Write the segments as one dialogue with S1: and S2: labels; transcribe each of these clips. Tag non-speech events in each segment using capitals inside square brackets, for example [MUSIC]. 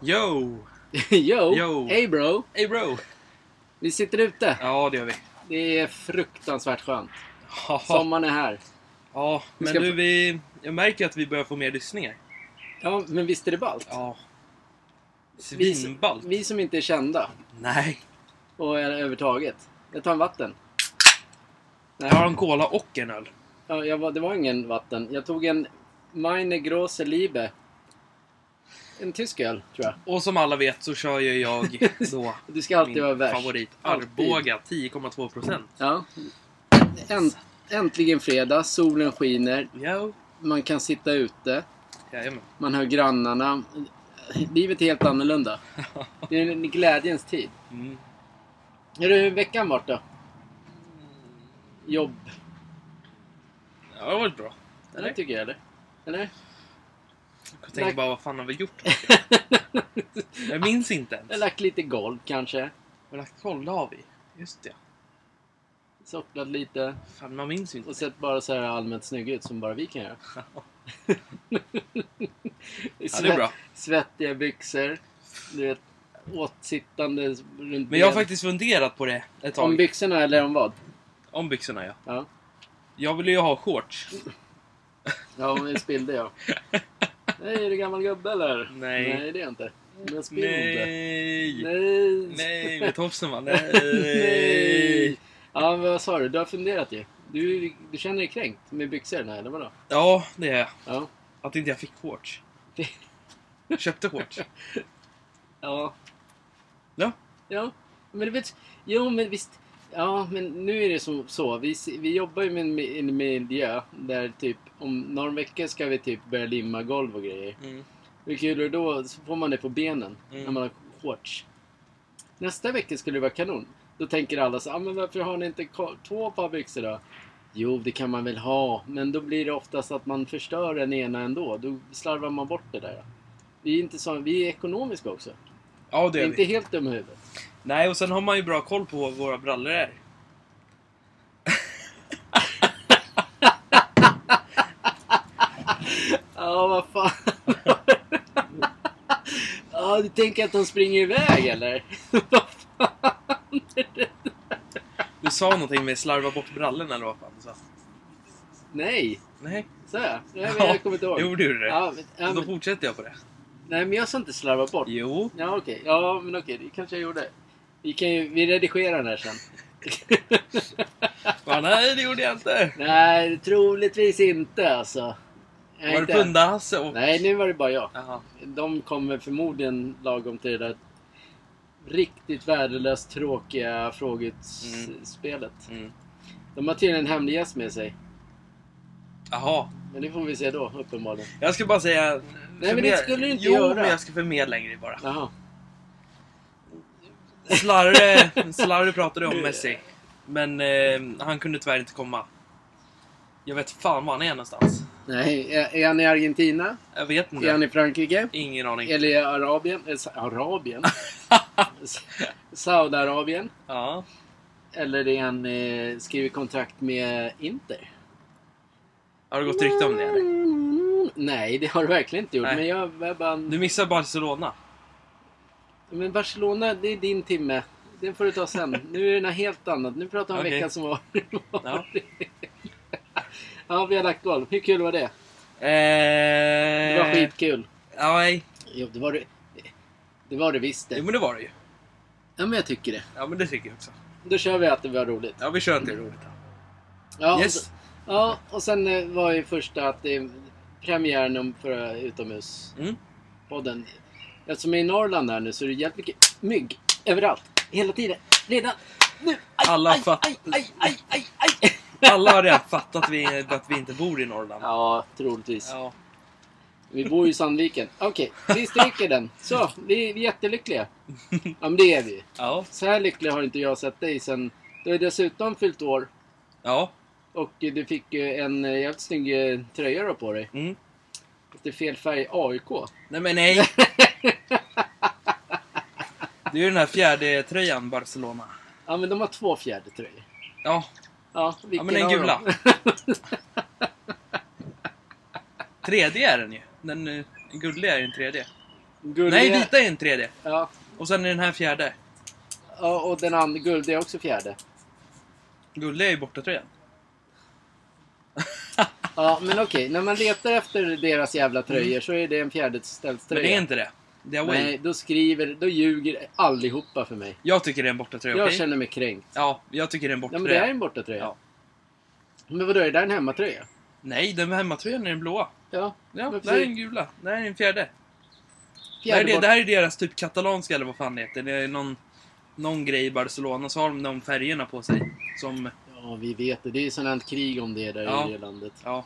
S1: Yo!
S2: [LAUGHS] Yo!
S1: Yo.
S2: Hey bro!
S1: Hey bro!
S2: Vi sitter ute.
S1: Ja, det gör vi.
S2: Det är fruktansvärt skönt.
S1: [LAUGHS] Ja,
S2: Sommaren är här.
S1: ja men
S2: ska-
S1: du, vi, jag märker att vi börjar få mer lyssningar.
S2: Ja, men visst är det ballt?
S1: Ja.
S2: Vi som-
S1: Svinballt.
S2: Vi som inte är kända.
S1: Nej.
S2: Och är överhuvudtaget. Jag tar en vatten. Nej,
S1: Jag har en cola och en öl.
S2: ja, jag var, det var ingen vatten. Jag tog en Meine Große Liebe. En tysk öl, tror jag.
S1: Och som alla vet så kör ju [LAUGHS] jag då
S2: Du ska alltid vara
S1: min
S2: värst.
S1: favorit
S2: Alltid.
S1: Arboga 10,2 procent.
S2: Ja. Änt, äntligen fredag, solen skiner,
S1: Yo!
S2: man kan sitta ute.
S1: Jajamän.
S2: Man hör grannarna. Livet är helt
S1: [LAUGHS]
S2: annorlunda. Det är en glädjens tid.
S1: Mm.
S2: Hur har veckan varit då? Jobb?
S1: Ja, det har varit bra.
S2: Eller tycker jag eller?
S1: [LAUGHS]
S2: Eller?
S1: Jag tänker bara, vad fan har vi gjort? Jag minns inte ens.
S2: jag har lagt lite golv kanske.
S1: Har lagt koll? Det har vi. Just det.
S2: Socklat lite.
S1: Fan, man minns ju inte.
S2: Och sett bara så här allmänt snygg ut som bara vi
S1: [LAUGHS]
S2: kan göra.
S1: Ja, det är bra.
S2: Svettiga byxor. Du vet, åtsittande runt
S1: Men jag har
S2: ben.
S1: faktiskt funderat på det ett tag.
S2: Om byxorna eller om vad?
S1: Om byxorna ja.
S2: Ja.
S1: Jag ville ju ha shorts.
S2: Ja, om vi spillde [LAUGHS] ja. Nej, är du gammal gubbe eller?
S1: Nej.
S2: Nej, det är jag inte. Men spill inte.
S1: Nej! Nej!
S2: Nej.
S1: med tofsen
S2: [LAUGHS]
S1: va? Nej!
S2: Nej. Ja, men vad sa du? Du har funderat ju. Du, du känner dig kränkt med byxorna eller vadå?
S1: Ja, det är jag.
S2: Ja.
S1: Att inte jag fick
S2: [LAUGHS]
S1: shorts. Jag köpte shorts.
S2: Ja.
S1: Ja.
S2: Ja. Men du vet, jo men visst. Ja, men nu är det som så. Vi, se- vi jobbar ju med en mi- en miljö där typ om någon vecka ska vi typ börja limma golv och grejer.
S1: Mm.
S2: Hur kul är det då? Så får man det på benen
S1: Mm.
S2: när man har shorts. Nästa vecka skulle det vara kanon. Då tänker alla så ah, men varför har ni inte ko- två par byxor då? Jo, det kan man väl ha, men då blir det oftast att man förstör den ena ändå. Då slarvar man bort det där. Vi är, inte så, vi är ekonomiska också.
S1: Ja, det
S2: Vi är
S1: är
S2: inte
S1: vi.
S2: helt dumma i huvudet.
S1: Nej, och sen har man ju bra koll på vad våra brallor är.
S2: Ja, vad fan. [LAUGHS] Ja, du tänker att de springer iväg eller? [LAUGHS] Vad fan är det?
S1: Du sa någonting med slarva bort brallorna eller vad fan du sa.
S2: Nej,
S1: Nej.
S2: så jag. Jag, jag kommer inte ihåg.
S1: Jo, det gjorde du.
S2: Ja, men, ja,
S1: Så Då
S2: men,
S1: fortsätter jag på det.
S2: nej, men jag sa inte slarva bort.
S1: Jo.
S2: Ja, okej. Ja, men okej. Det kanske jag gjorde. Vi, kan ju, vi redigerar den här sen.
S1: Va, nej, det gjorde jag inte.
S2: nej, troligtvis inte alltså. Jag är
S1: Var det
S2: inte-
S1: Punda-Hasse och...
S2: Nej, nu var det bara jag.
S1: Jaha.
S2: De kommer förmodligen lagom till det där riktigt värdelöst tråkiga frågespelet.
S1: Mm.
S2: De har tydligen en hemlig gäst med sig.
S1: Jaha.
S2: Men det får vi se då, uppenbarligen.
S1: Jag ska bara säga...
S2: det skulle du inte
S1: jo,
S2: göra.
S1: men jag ska förmedla en grej bara.
S2: Jaha.
S1: Slarre, Slarre pratade om Messi. Men eh, han kunde tyvärr inte komma. Jag vet fan var han är någonstans.
S2: Nej, är, är han i Argentina?
S1: Jag vet inte.
S2: Är han i Frankrike?
S1: Ingen aning.
S2: Eller i Arabien? Eh, Sa-
S1: [LAUGHS]
S2: Arabien? Sa- Saudiarabien?
S1: Ja.
S2: Eller är han eh, skriver kontrakt med Inter?
S1: Har det gått rykte om det eller?
S2: Nej, det har du verkligen inte gjort.
S1: Nej.
S2: Men jag, jag bara...
S1: Du missar Barcelona.
S2: Men Barcelona, det är din timme. Den får du ta sen. Nu är det något helt annat. Nu pratar vi om
S1: Okej.
S2: veckan som var.
S1: Ja.
S2: [LAUGHS] ja, vi har lagt golv. Hur kul var det? Det
S1: Det
S2: var skitkul.
S1: Eh, Ja, nej.
S2: Jo, det var det. Det var det visst
S1: Jo
S2: det.
S1: men det var det ju.
S2: Ja, men jag tycker det.
S1: Ja men det tycker jag också.
S2: Då kör vi att det var roligt.
S1: Ja vi kör inte roligt. då.
S2: Ja,
S1: Yes.
S2: och, ja, och sen eh, var ju första att det är premiären om förra utomhuspodden.
S1: Mm.
S2: eh, Eftersom jag är i Norrland här nu så är det jävligt mycket mygg överallt. Hela tiden. Redan nu. Aj,
S1: Alla
S2: aj,
S1: fatt-
S2: aj, aj, aj, aj, aj.
S1: Alla har redan fattat vi, att vi inte bor i Norrland.
S2: Ja, troligtvis.
S1: Ja.
S2: Vi bor ju i Sandviken. Okej, vi stryker den. Så, vi är jättelyckliga. Ja, men det är vi.
S1: Ja.
S2: Så här lycklig har inte jag sett dig sen... Du har dessutom fyllt år
S1: Ja.
S2: och eh, du fick eh, en eh, jävligt snygg eh, tröja då på dig.
S1: Mm.
S2: Fast Det är fel färg, AIK.
S1: Nej men nej.
S2: [LAUGHS]
S1: Det är ju den här fjärde tröjan Barcelona.
S2: Ja, men de har två fjärde tröjor.
S1: Ja.
S2: Ja, vilken
S1: Ja men den
S2: av dem? [LAUGHS]
S1: gula. Tredje är den ju. Den eh, gulliga är den tredje.
S2: Guldiga,
S1: Nej, vita är en 3D.
S2: Ja,
S1: Och sen är den här fjärde.
S2: Ja, och den andra guldiga är också fjärde.
S1: Gulliga är ju bortatröjan.
S2: Ja, men okej. När man letar efter deras jävla tröjor så är det en
S1: Mm. Men
S2: fjärdedelströja.
S1: det är inte det. Det är
S2: Nej,
S1: away.
S2: då skriver, då ljuger allihopa för mig.
S1: Jag tycker det är en bortatröja,
S2: Jag
S1: okej?
S2: känner mig kränkt.
S1: Ja, jag tycker det är en
S2: Nej, men det
S1: bortatröja.
S2: är en bortatröja.
S1: Ja.
S2: Men vadå, är det där en hemmatröja?
S1: Nej, den med hemmatröjan är den blåa.
S2: Ja,
S1: Ja,
S2: men
S1: där är den gula. Där är den fjärde.
S2: Fjärde
S1: det, här är,
S2: bort-
S1: det här är deras typ katalanska eller vad fan det heter. Det är någon, någon grej i Barcelona, så har de de färgerna på sig. Som,
S2: Ja, vi vet det. Det är ju sånt här krig om det där
S1: Ja.
S2: i det landet.
S1: ja,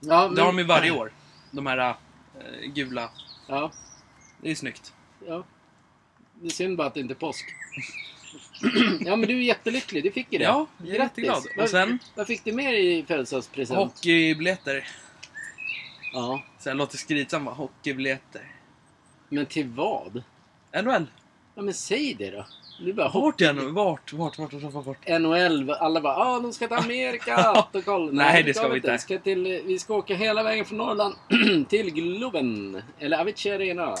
S2: Ja,
S1: det har de ju varje år. De här eh, gula.
S2: Ja,
S1: Det är snyggt.
S2: ja. Det är synd bara att det inte är påsk. [CLEARS THROAT] ja, men du är jättelycklig. Du fick ju det.
S1: Ja, jag är jätteglad. Och sen
S2: Vad fick du mer i födelsedagspresent?
S1: hockeybiljetter.
S2: Ja,
S1: Så jag låter skrytsam bara, hockeybiljetter.
S2: men till vad?
S1: NHL.
S2: Ja, men säg det då. Du bara hopp.
S1: Vart är jag nu? Vart? Vart? Vart? Vart? Vart? vart?
S2: NHL, alla bara ah, de ska
S1: [LAUGHS]
S2: till Amerika! och kolla.
S1: Nej, det ska vi inte.
S2: Vi ska, till, vi ska åka hela vägen från Norrland [CLEARS THROAT] till Globen. Eller Avicii Arena.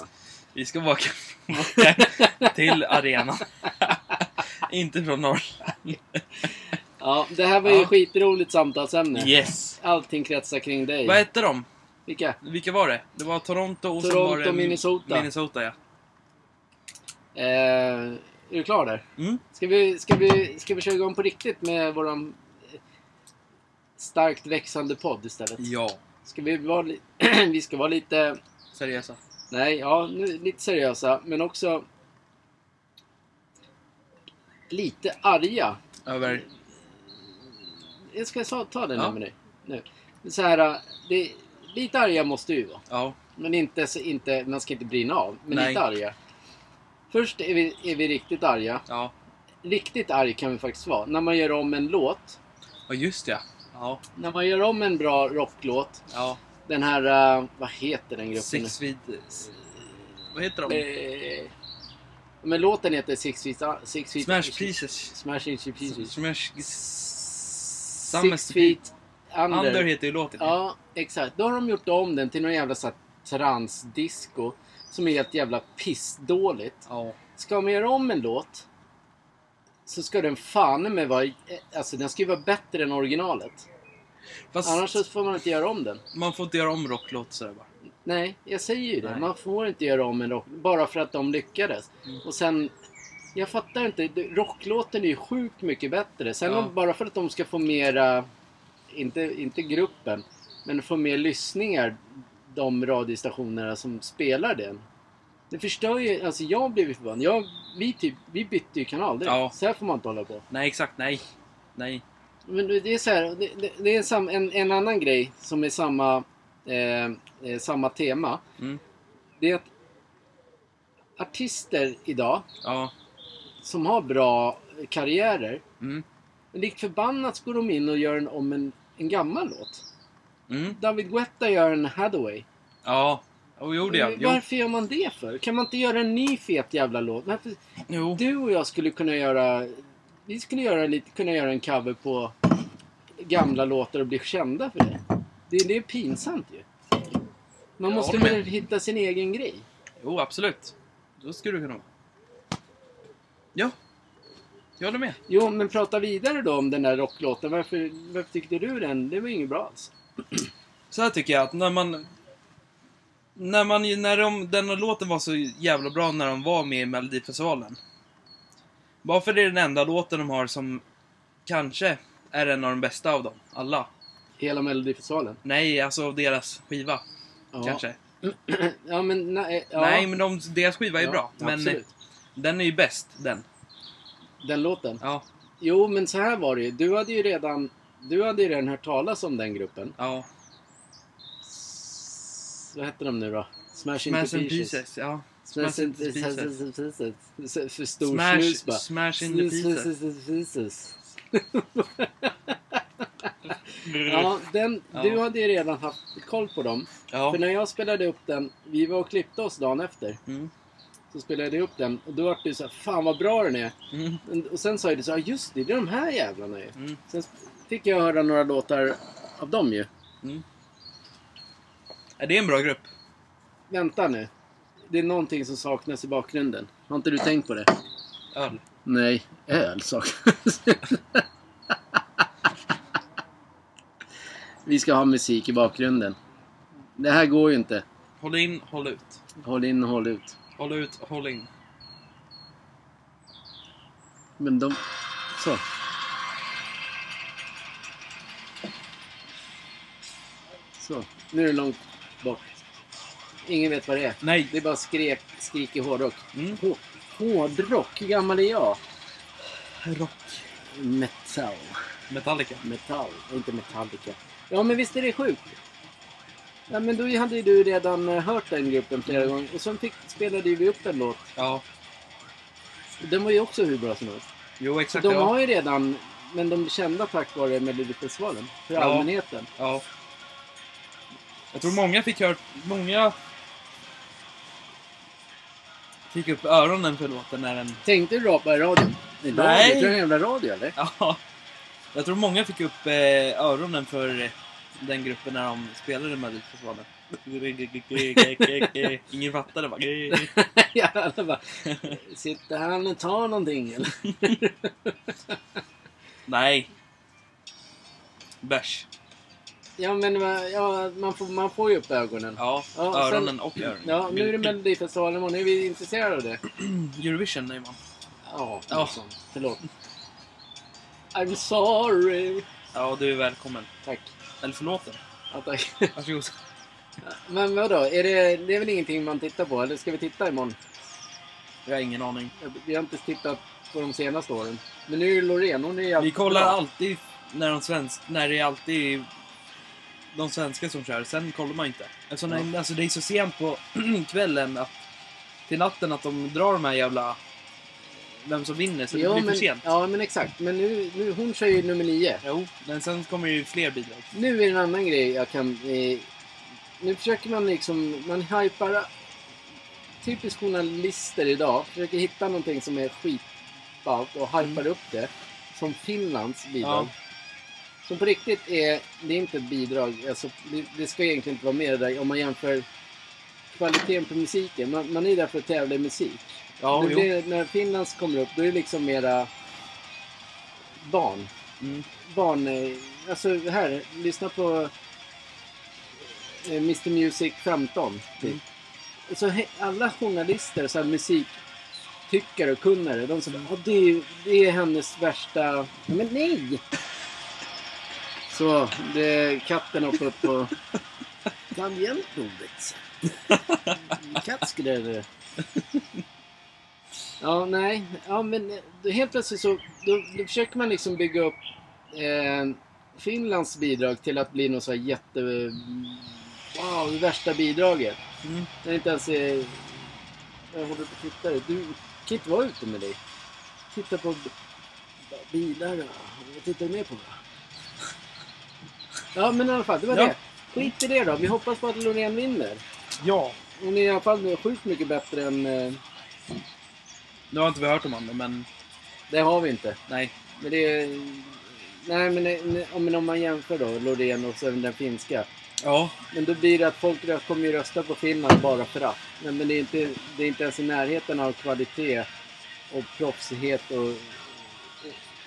S1: Vi ska [LAUGHS] åka åka till arenan. [LAUGHS] Inte från Norrland.
S2: Ja, det här var ju
S1: Ja.
S2: skitroligt samtalsämne.
S1: Yes!
S2: Allting kretsar kring dig.
S1: Vad hette de?
S2: Vilka?
S1: Vilka var det? Det var Toronto och sen
S2: Toronto,
S1: var det...
S2: Minnesota.
S1: Minnesota, ja.
S2: Eh, är du klar där?
S1: Mm.
S2: Ska vi, ska, vi, ska vi köra igång på riktigt med våran eh, starkt växande podd istället?
S1: Ja.
S2: Ska vi vara, li- [CLEARS THROAT] vi ska vara lite,
S1: Seriösa.
S2: nej, ja, nu, lite seriösa, men också lite arga.
S1: Över...
S2: Jag ska ta, ta den
S1: Ja.
S2: här med dig. Nu. Så här, eh, det, lite arga måste vi vara.
S1: Ja.
S2: Men inte, så- inte, man ska inte brinna av. Men
S1: Nej.
S2: lite arga. Först är vi, är vi riktigt arga.
S1: Ja.
S2: Riktigt arg kan vi faktiskt vara. När man gör om en låt.
S1: Ja, just ja. Ja.
S2: När man gör om en bra rocklåt.
S1: Ja.
S2: Den här, eh, vad heter den gruppen?
S1: Six feet... Vad heter de?
S2: Eh, men låten heter Six Feet... ah, Six feet
S1: Smash Pieces.
S2: Smash Into Pieces.
S1: Smash...
S2: Six
S1: Six
S2: Feet Under.
S1: Under heter ju låten.
S2: Ja, exakt. Då har de gjort om den till någon jävla så här transdisco. Som är helt jävla pissdåligt.
S1: Ja.
S2: Ska man göra om en låt så ska den fan med vara... Alltså den ska ju vara bättre än originalet.
S1: Fast
S2: Annars så får man inte göra om den.
S1: man får inte göra om rocklåt sådär bara.
S2: Nej, jag säger ju det.
S1: Nej. Mm.
S2: Man får inte göra om en rock... Bara för att de lyckades. Och sen... Jag fattar inte. Det- Rocklåten är ju sjukt mycket bättre. Sen
S1: Ja.
S2: om, bara för att de ska få mera... Inte, inte gruppen, men få mer lyssningar. De radiostationerna som spelar den. Det förstör ju... Alltså jag blev ju förbannad. Jag, vi, typ, vi bytte ju kanal direkt.
S1: Ja.
S2: Så här får man inte hålla på.
S1: Nej, exakt. Nej. Nej.
S2: Men det är så här, det, det, det är sam, en, en annan grej som är samma, eh, eh, samma tema.
S1: Mm.
S2: Det är att artister idag
S1: Ja.
S2: som har bra karriärer,
S1: Mm.
S2: likt förbannat så går de in och gör en, om en, en gammal låt.
S1: Mm.
S2: David Guetta gör en Hathaway.
S1: Ja. Jo, jo, det gör jag.
S2: Varför gör man det för? Kan man inte göra en ny fet jävla låt? Varför,
S1: Jo. jo.
S2: du och jag skulle kunna göra... Vi skulle göra lite, kunna göra en cover på gamla låtar och bli kända för det. Det, det är pinsamt ju. Man
S1: Jag
S2: måste
S1: håller
S2: väl
S1: med.
S2: hitta sin egen grej.
S1: Jo, absolut. Då skulle du kunna vara. Ja. Jag håller med.
S2: Jo, men prata vidare då om den där rocklåten. Varför, varför tyckte du den? Det var inget bra alls.
S1: Så här tycker jag att när man... När man ju- när de, den här låten var så jävla bra när de var med i Melodifestivalen. Varför är det den enda låten de har som kanske är en av de bästa av dem? Alla?
S2: Hela Melodifestivalen.
S1: Nej, alltså av deras skiva.
S2: Ja.
S1: Kanske.
S2: Ja, men nej. Ja.
S1: Nej, men de, deras skiva är
S2: ja,
S1: bra. Men
S2: Absolut.
S1: den är ju bäst, den.
S2: Den låten.
S1: Ja.
S2: Jo, men så här var det ju. Du hade ju redan, du hade ju redan hört talas om den gruppen.
S1: Ja.
S2: S- Vad hette de nu då? Smash,
S1: Smash
S2: Into
S1: and
S2: Pieces.
S1: pieces, ja.
S2: Smash
S1: Smash
S2: in
S1: into pieces.
S2: För stor
S1: Smash,
S2: snus bara.
S1: smash in the pieces.
S2: pieces. Ja, den,
S1: Mm. Ja.
S2: Du hade ju redan haft koll på dem.
S1: Ja.
S2: För när jag spelade upp den, vi var och klippte oss dagen efter.
S1: Mm.
S2: Så spelade jag upp den och då var du såhär, fan vad bra den är.
S1: Mm.
S2: Och sen sa jag det så här, just det, det är de här jävlarna ju.
S1: Mm.
S2: Sen fick jag höra några låtar av dem ju.
S1: Ja, Det är en bra grupp.
S2: Vänta nu. det är någonting som saknas i bakgrunden. Har inte du tänkt på det?
S1: Öl.
S2: Nej, öl saknas. [LAUGHS] Vi ska ha musik i bakgrunden. Det här går ju inte.
S1: Håll in, håll ut.
S2: Håll in och håll ut.
S1: Håll ut, håll in.
S2: Men de... Så. Så. Nu är det långt bort. Ingen vet vad det är.
S1: Nej.
S2: Det är bara skrek, skrik i hårdrock.
S1: Mm.
S2: Hå- Hårdrock? Hur gammal är jag?
S1: Rock.
S2: Metal.
S1: Metallica.
S2: Metall, och inte Metallica. Ja, men visst är det sjukt? Ja, men då hade ju du redan eh, hört den gruppen flera
S1: Mm.
S2: gånger. Och sen fick, spelade ju vi upp en låt.
S1: Ja.
S2: Den var ju också hur bra som helst.
S1: Jo, exakt.
S2: De
S1: ja.
S2: har ju redan, men de är kända tack vare Melodifestivalen. För
S1: Ja.
S2: allmänheten.
S1: Ja. Jag tror många fick hört... Många... Fick upp öronen för låten när den... [LAUGHS]
S2: Tänkte du rapa i radion? I radio?
S1: Nej.
S2: Nej! Du är en jävla radio
S1: [LAUGHS]
S2: eller?
S1: Ja. Jag tror många fick upp eh, öronen för eh, den gruppen när de spelade
S2: [LAUGHS]
S1: Melodifestivalen. Ingen fattade bara.
S2: Ja, alla bara, Sitter han och tar någonting eller?
S1: Nej. Bärs.
S2: Ja, men va- ja, man, får, man får ju upp ögonen.
S1: Ja,
S2: Ja, och sen-
S1: öronen och öronen.
S2: Ja, nu är det Melodifestivalen och nu är vi intresserade av det.
S1: Eurovision är man.
S2: Ja,
S1: Ja.
S2: liksom. förlåt. I'm sorry.
S1: Ja, du är välkommen.
S2: Tack.
S1: Eller
S2: [LAUGHS]
S1: förlåten.
S2: Ja, tack.
S1: Varsågod.
S2: Men vadå, är det, det är väl ingenting man tittar på? Eller ska vi titta imorgon?
S1: Jag har ingen aning.
S2: Vi har inte tittat på de senaste åren. Men nu är det Loreen, hon är jävligt
S1: Vi kollar
S2: bra.
S1: alltid när de svensk, när det är alltid de svenska som kör. Sen kollar man inte. Eftersom
S2: Ja.
S1: det, alltså det är så sent på [CLEARS THROAT] kvällen att, till natten att de drar de här jävla... Vem som vinner, så det
S2: Ja,
S1: blir
S2: men,
S1: för sent.
S2: Ja, men exakt. Men nu, nu, hon kör ju nummer nio.
S1: Jo, men sen kommer det ju fler bidrag.
S2: Nu är det en annan grej jag kan... Eh, nu försöker man liksom... Man hypar... Typiskt journalister idag försöker hitta någonting som är skitballt och hypar
S1: Mm.
S2: upp det. Som Finlands bidrag.
S1: Ja.
S2: Som på riktigt är... Det är inte ett bidrag. Alltså, det, det ska egentligen inte vara med det där om man jämför kvaliteten på musiken. Man, man är där för att tävla i musik.
S1: Ja,
S2: det
S1: jo.
S2: blir, när Finlands kommer upp då är det liksom mera barn
S1: Mm.
S2: barn... eh, Alltså här, lyssna på eh, Mr Music 15. Typ.
S1: Mm.
S2: Så he- alla journalister, så här, musiktyckare och kunnare, de som bara, "Ah, det, är, ju- det är hennes värsta... Men nej! Så, det, katten hoppade upp på tangentbordet. Katt skrädde. [LAUGHS] Ja, nej. Ja, men eh, då helt plötsligt så då, då försöker man liksom bygga upp eh, Finlands bidrag till att bli något så här jätte... Wow, det värsta bidraget.
S1: Mm.
S2: När det inte ens är... Jag håller på att titta. Du, Kit var ute med dig. Titta på b- bilar. och- Vad tittar du mer på? Ja, men i alla fall. Det var
S1: Ja.
S2: det. Skit i det då. Vi hoppas på att Loreen vinner.
S1: Ja.
S2: Hon är i alla fall sjukt mycket bättre än... eh,
S1: Nu har inte vi hört om honom, men
S2: Det har vi inte.
S1: nej.
S2: Men det... är- Nej, men, nej, ja, men om man jämför då Loreen och sen den finska.
S1: Ja.
S2: Men då blir det att folk rö- kommer ju rösta på Finland bara för att. Nej, men det är, inte, det är inte ens i närheten av kvalitet och proffsighet och...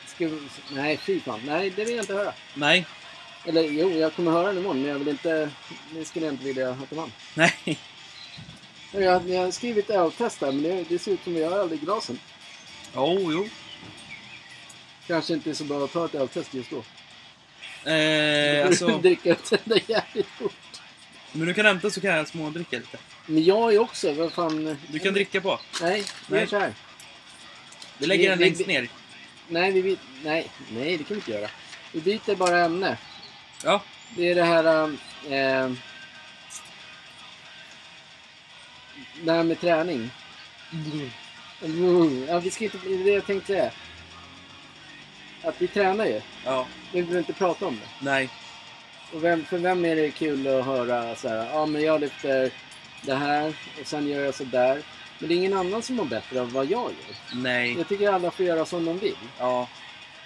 S2: Ska, vi- nej, fy fan. Nej, det vill jag inte höra.
S1: Nej. [LAUGHS]
S2: Eller jo, jag kommer höra den imorgon, men jag vill inte... Det skulle jag inte vilja att de vann.
S1: Nej.
S2: Jag, har- jag har skrivit öltest här, men det, det ser ut som att jag har öl i glasen.
S1: Jo, jo.
S2: Kanske inte är så bra att ta ett öltest just då.
S1: Eh, alltså,
S2: [LAUGHS] Dricka upp den där jävligt fort.
S1: men du kan hämta så kan jag smådricka lite.
S2: Men jag är också, vad fan...
S1: Du kan dricka på.
S2: Nej, vi gör
S1: Nej.
S2: så här.
S1: Vi lägger den
S2: Vi- vi-
S1: längst ner.
S2: Nej, vi byter... Nej, nej, det kan vi inte göra. Vi byter bara ämne.
S1: Ja.
S2: Det är det här... Eh, det här med träning. Mm, Ja, vi ska inte... Det är det jag tänkte säga. Att vi tränar ju.
S1: Ja.
S2: Vi behöver inte prata om det.
S1: Nej.
S2: Och vem, för vem är det kul att höra så här, ja men jag lyfter det här och sen gör jag så där. Men det är ingen annan som mår bättre av vad jag gör.
S1: Nej.
S2: Jag tycker alla får göra som de vill.
S1: Ja.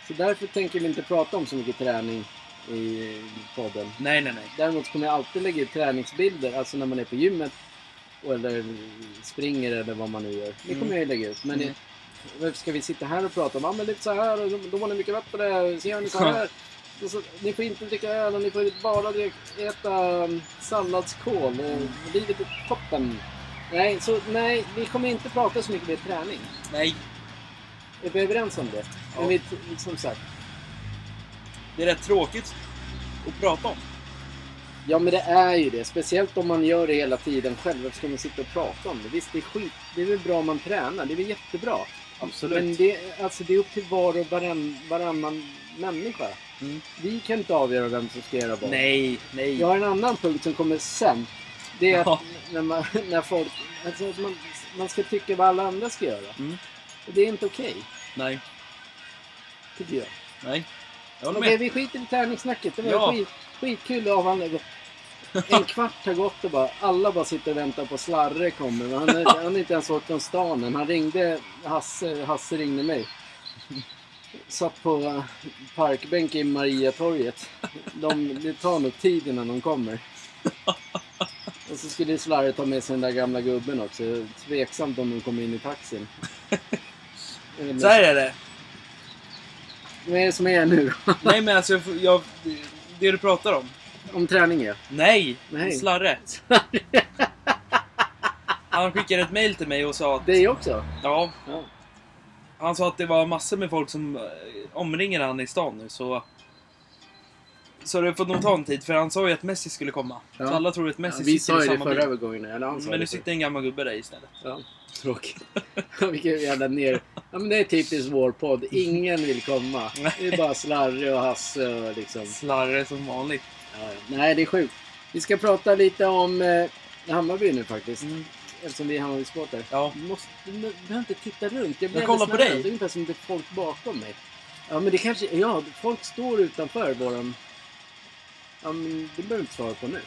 S2: Så därför tänker vi inte prata om så mycket träning i podden.
S1: Nej, nej, nej.
S2: Däremot kommer jag alltid lägga ut träningsbilder, alltså när man är på gymmet Och, eller springer eller vad man nu gör. Det kommer
S1: Mm.
S2: jag ju lägga ut. Men
S1: Mm.
S2: det, varför ska vi sitta här och prata om ah, men det är så här och de- de håller mycket bättre. Så gör ni så här. Och så, ni får inte dricka öl och ni får bara direkt äta um, salladskål.
S1: Mm.
S2: Och livet är toppen. Nej, så nej, vi kommer inte prata så mycket mer träning.
S1: Nej,
S2: Är vi överens om det? liksom
S1: Ja.
S2: Men vi, som sagt,
S1: det är rätt tråkigt att prata om.
S2: Ja men det är ju det. Speciellt om man gör det hela tiden själv. Varför ska man sitta och prata om det? Visst, det är skit. Det är väl bra om man tränar. Det är väl jättebra. Men det, alltså, det är upp till var och varann, varannan människa.
S1: Mm.
S2: Vi kan inte avgöra vem som ska göra vad.
S1: Nej, nej.
S2: Jag har en annan punkt som kommer sen. Det är att
S1: Ja.
S2: när, man, när folk... Alltså att man, man ska tycka vad alla andra ska göra.
S1: Mm.
S2: Och det är inte okej,
S1: Nej,
S2: tycker jag.
S1: nej. Jag håller
S2: Okej,
S1: med.
S2: vi skiter i tärningssnacket. Det var
S1: Ja.
S2: skit, skitkul att avhandla. En kvart har gått och bara, alla bara sitter och väntar på Slarre kommer. Men han, är, han är inte ens åkt från stan än. Han ringde Hasse, Hasse ringde mig. Satt på eh, parkbänk i Mariatorget. De, det tar nog tid innan de kommer. Och så skulle Slarre ta med sig den där gamla gubben också. Tveksamt om de kommer in i taxin.
S1: [LAUGHS] Så här är det.
S2: Vad är det som är nu då?
S1: Nej men alltså, jag, får- jag, det du pratar om.
S2: Om träning ja.
S1: Nej!
S2: Nej.
S1: Slarre. Han skickade ett mail till mig och sa att...
S2: Det också?
S1: Ja,
S2: Ja.
S1: han sa att det var massor med folk som eh, omringer han i stan nu så... Så det får nog ta en tid för han sa ju att Messi skulle komma.
S2: Ja.
S1: Så alla tror att Messi
S2: vi
S1: sitter
S2: sa
S1: i
S2: ju det
S1: samma
S2: förra
S1: bil. Mm,
S2: övergången. Eller han sa
S1: Men nu
S2: det
S1: sitter en gammal gubbe där istället.
S2: förra.
S1: [LAUGHS]
S2: Ja, tråkigt. [LAUGHS] Vilken jävla ner... Ja, men det är typiskt vår podd. Ingen vill komma. Det är bara Slarre och Hasse och liksom...
S1: Slarre som vanligt.
S2: Ja, ja. nej, det är sjukt. Vi ska prata lite om eh, Hammarby nu faktiskt.
S1: Mm.
S2: Eftersom vi är Hammarbysportare.
S1: Ja.
S2: Du, måste, du behöver inte titta runt. Jag, blir
S1: Jag kollar
S2: alldeles
S1: på
S2: nervös.
S1: dig.
S2: Det är ungefär som det är folk bakom mig. Ja, men det kanske... Ja, folk står utanför våran... Ja, men det behöver du inte svara på nu.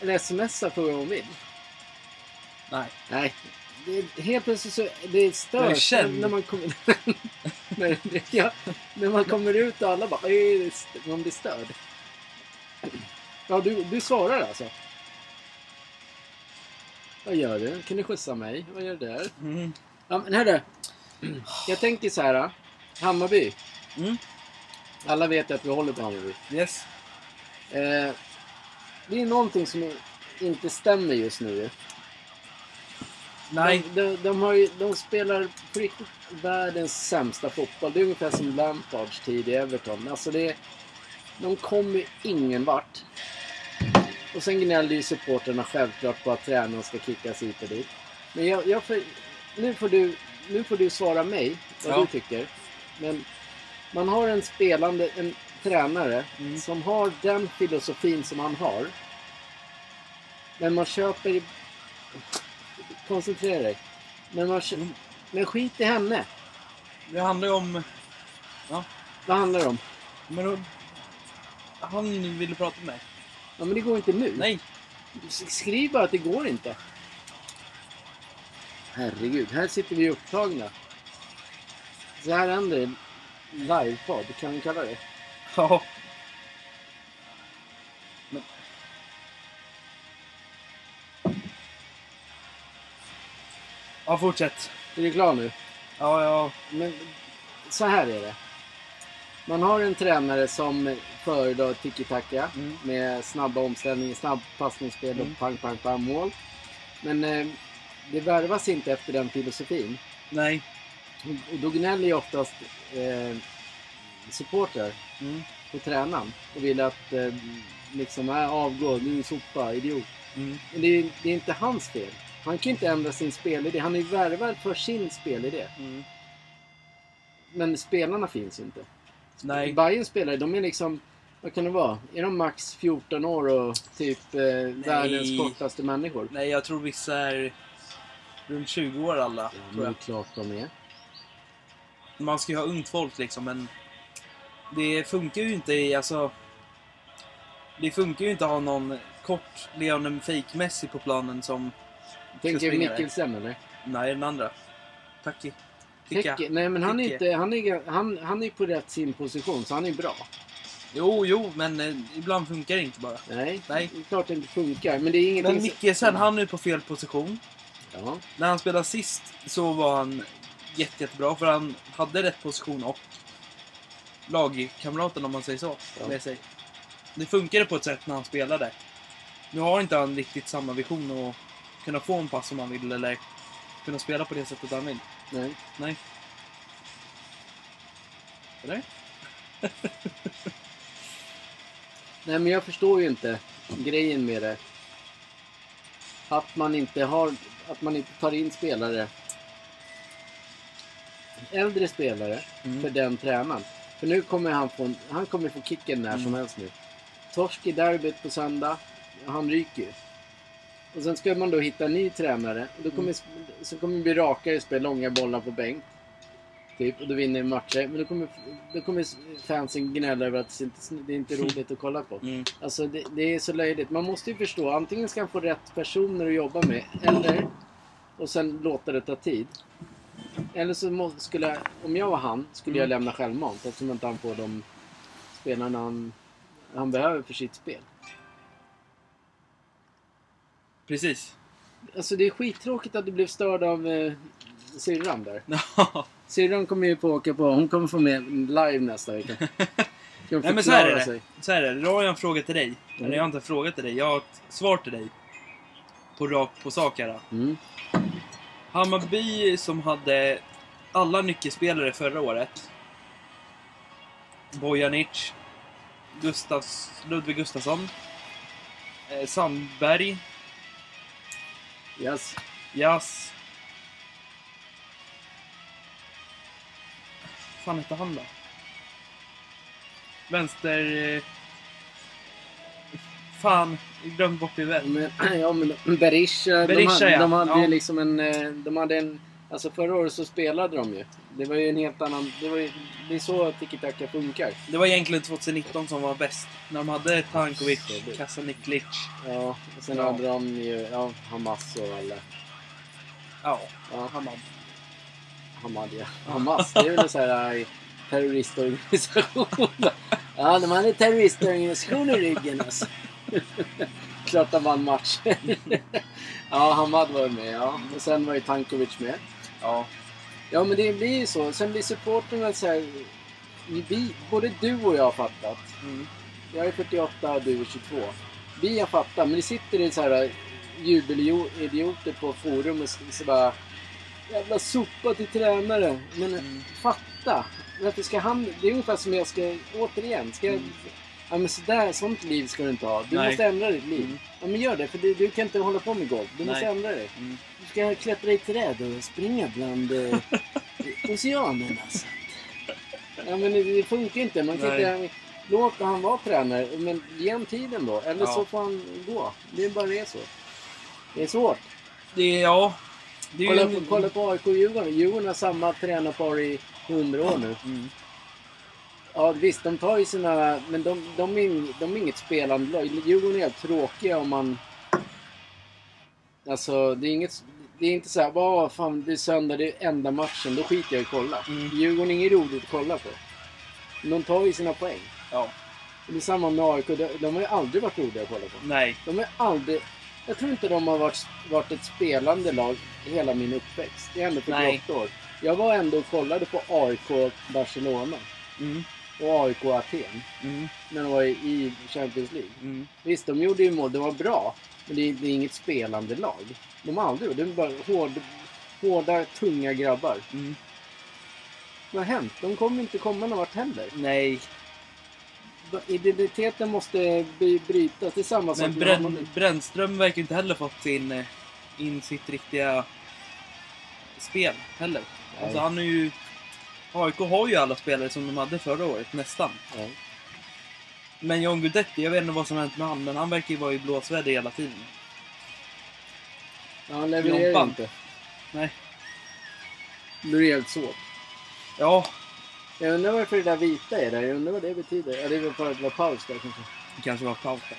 S2: Eller smsa fråga om hon vill.
S1: Nej.
S2: Nej. Det är, helt plötsligt så... Det
S1: Jag är
S2: störs
S1: känd.
S2: när man kommer... [LAUGHS] när, ja, när man kommer ut och alla bara... "Ej, st- Man blir störd. Ja, du, du svarar alltså? Vad gör du? Kan du skjutsa mig? Vad gör du där?
S1: Mm.
S2: Ja, men hörru. Jag tänker så här. ah. Hammarby.
S1: Mm.
S2: Alla vet att vi håller på Hammarby.
S1: Yes.
S2: Eh, det är någonting som inte stämmer just nu. ju.
S1: Nej.
S2: De, de, de, har ju, de spelar på riktigt världens sämsta fotboll. Det är ungefär som Lampards tid i Everton. Alltså det, de kommer ingen vart. Och sen gnäller ju supporterna självklart på att tränaren ska kickas hit och dit. Men jag, jag får, nu, får du, nu får du svara mig vad
S1: Ja.
S2: du tycker. Men man har en spelande, en tränare
S1: Mm.
S2: som har den filosofin som han har. Men man köper... Koncentrera dig. Men, man kö...
S1: Mm.
S2: men skit i henne.
S1: Det handlar ju om...
S2: Vad handlar det om?
S1: Men då, han ville prata med mig.
S2: Ja, men det går inte nu.
S1: Nej.
S2: S- Skriv bara att det går inte. Herregud, här sitter vi upptagna. Så här händer det. Livepodd, kan vi kalla det?
S1: [LAUGHS] Ja. Ja, fortsätt.
S2: Är du klar nu?
S1: Ja, ja.
S2: Men så här är det. Man har en tränare som föredrar tiki-taka
S1: Mm.
S2: med snabba omställningar, snabb passningsspel och
S1: Mm.
S2: pang, pang, pang mål. Men eh, det värvas inte efter den filosofin.
S1: Nej.
S2: Och då gnäller ju oftast eh, supportrar
S1: Mm.
S2: på tränaren och vill att eh, liksom, äh, avgå, du är en sopa, idiot.
S1: Mm.
S2: Men det är, det är inte hans fel. Han kan ju inte ändra sin spelidé. Han är ju värvad för sin spelidé.
S1: Mm.
S2: Men spelarna finns ju inte.
S1: Nej.
S2: Bayerns spelare, de är liksom, vad kan det vara? Är de max 14 år och typ eh, världens kortaste människor?
S1: Nej, jag tror vissa är runt 20 år alla.
S2: Ja, men
S1: Tror
S2: det är
S1: jag.
S2: klart de är.
S1: Man ska ju ha ungt folk liksom, men det funkar ju inte i, alltså... Det funkar ju inte att ha någon kort Leonen Fake-Messi på planen som...
S2: Tänker
S1: springa
S2: Mikkelsen eller?
S1: Nej, den andra. Tacki. Ticka.
S2: Teke, nej men han är
S1: Teke.
S2: inte, han är, han, han är på rätt sin position så han är bra.
S1: Jo, jo, men eh, ibland funkar det inte bara.
S2: Nej,
S1: Nej.
S2: det är klart det inte funkar. Men det är ingenting
S1: Men
S2: som-
S1: Mikkelsen, han är ju på fel position.
S2: Ja,
S1: När han spelade sist så var han jätte, jättebra för han hade rätt position och lagkamraten om man säger så
S2: Ja.
S1: med sig. Det funkade på ett sätt när han spelade. Nu har inte han riktigt samma vision och kunna få en pass som han vill eller kunna spela på det sättet han vill.
S2: nej.
S1: Nej. Eller?
S2: Nej, men jag förstår ju inte grejen med det. Att man inte har, att man inte tar in spelare. Äldre spelare för
S1: Mm.
S2: den tränaren. För nu kommer han få, han kommer få kicken när
S1: Mm.
S2: som helst nu. Torsk i derbyt på söndag. Han ryker ju. Och sen ska man då hitta en ny tränare. Och då kommer, Så kommer det bli rakare spel, långa bollar på bänk. Typ, och då vinner matcher. Men då kommer, då kommer fansen gnälla över att det inte det är inte är roligt att kolla på.
S1: Mm.
S2: Alltså det, det är så löjligt. Man måste ju förstå. Antingen ska han få rätt personer att jobba med. Eller, och sen låta det ta tid. Eller så må, skulle jag, om jag var han, skulle
S1: Mm.
S2: jag lämna självmant. Eftersom inte han får de spelarna han, han behöver för sitt spel.
S1: Precis. [LAUGHS]
S2: Alltså det är skittråkigt att du blev störd av eh, syrran där.
S1: Ja.
S2: Syrran kommer ju på åka på. Hon kommer få med live nästa
S1: [LAUGHS]
S2: vecka. Ska hon
S1: Nej men så här är
S2: förklara
S1: det.
S2: sig?
S1: Så här är det. Då har jag en fråga till dig. Eller jag har inte en fråga till dig. Jag har ett svar till dig. På rakt på sak här. då.
S2: Mm.
S1: Hammarby som hade alla nyckelspelare förra året. Bojanic, Gustavs, Ludvig Gustafsson, eh, Sandberg,
S2: Yes.
S1: Jas... fan hette han då? Vänster... eh, Fan, jag glömde bort huvudet.
S2: Men, [CLEARS THROAT] ja, men Berisha, de,
S1: Berisha,
S2: hade,
S1: ja.
S2: de hade
S1: Ja.
S2: ju liksom en... eh, De hade en alltså förra året så spelade de ju. Det var ju en helt annan... Det, var ju, det är så tiki-taka funkar.
S1: Det var egentligen 2019 som var bäst. När de hade Tankovic, Kasaniklic.
S2: Ja, och sen
S1: Ja.
S2: hade de ju ja, Hamas och alla...
S1: Ja,
S2: Ja,
S1: Hamad.
S2: Hamad ja. Hamas, det är väl en sån här eh, terroristorganisation. [LAUGHS] ja, de hade terroristorganisation i ryggen alltså. [LAUGHS] Klart de vann matchen. [LAUGHS] ja, Hamad var ju med ja. Och sen var ju Tankovic med.
S1: Ja.
S2: Ja, men det blir ju så. Sen blir supporterna så här... Vi, både du och jag har fattat.
S1: Mm.
S2: Jag är 48 och du är 22. Vi har fattat, men det sitter det så här eh, jubelidioter på forum och så så bara... Jävla sopa till tränare. Men
S1: Mm.
S2: fatta! Varför ska han... Det är ungefär som jag ska... Återigen, ska jag...
S1: Mm.
S2: Ja, men sådär, sånt liv ska du inte ha. Du
S1: Nej.
S2: måste ändra ditt liv.
S1: Mm.
S2: Ja, men gör det, för du, du kan inte hålla på med golf. Du måste
S1: Nej.
S2: ändra dig.
S1: Mm.
S2: Du ska klättra i träd och springa
S1: [LAUGHS]
S2: bland eh, oceanen alltså. Ja, men det, det funkar inte. Man kan
S1: Nej.
S2: inte, låt han vara tränare, men ge honom tiden då. Eller
S1: Ja.
S2: så får han gå. Det är bara det så. Det är svårt.
S1: Det är, ja. Det är
S2: Kolla,
S1: ju...
S2: på- kolla på AIK och Djurgården. Djurgården har samma tränarpar i 100 år nu.
S1: Mm.
S2: Ja visst, de tar ju sina... Men de, de, är, ing- de är inget spelande lag. Djurgården är helt tråkiga om man... Alltså, det är inget... Det är inte så här, "Åh, fan det är söndag, det är enda matchen, då skiter jag i att kolla.
S1: Mm.
S2: Djurgården är inget roligt att kolla på. Men de tar ju sina poäng.
S1: Ja.
S2: Och Det är samma med AIK, de, de har ju aldrig varit roliga att kolla på.
S1: Nej.
S2: De har aldrig... Jag tror inte de har varit, varit ett spelande lag hela min uppväxt. Det är ändå 48 år. Jag var ändå och kollade på AIK Barcelona
S1: Mm.
S2: och AIK Aten
S1: Mm.
S2: när de var i- i Champions League.
S1: Mm.
S2: Visst, de gjorde ju mål. Det var bra. Men det är, det är inget spelande lag. De har aldrig gjort det. är bara hård, hårda, tunga grabbar.
S1: Mm.
S2: Vad har hänt? De kommer inte komma någon vart heller.
S1: Nej.
S2: Va- Identiteten måste bry- brytas. Det är samma sak
S1: Men
S2: med Hammarby.
S1: Brän, Brännström verkar inte heller fått sin, eh, in sitt riktiga spel heller.
S2: Nej.
S1: Alltså han är ju... AIK har ju alla spelare som de hade förra året, nästan.
S2: Ja.
S1: Men John Guidetti, jag vet inte vad som har hänt med han, men han verkar ju vara i blåsväder hela tiden.
S2: Ja, han levererar
S1: Jompan.
S2: inte.
S1: Nej.
S2: Då är det helt svårt.
S1: Ja,
S2: Jag undrar varför det där vita är där. Jag undrar vad det betyder. Ja, det är väl för att det var paus där kanske.
S1: det kanske var Pauta.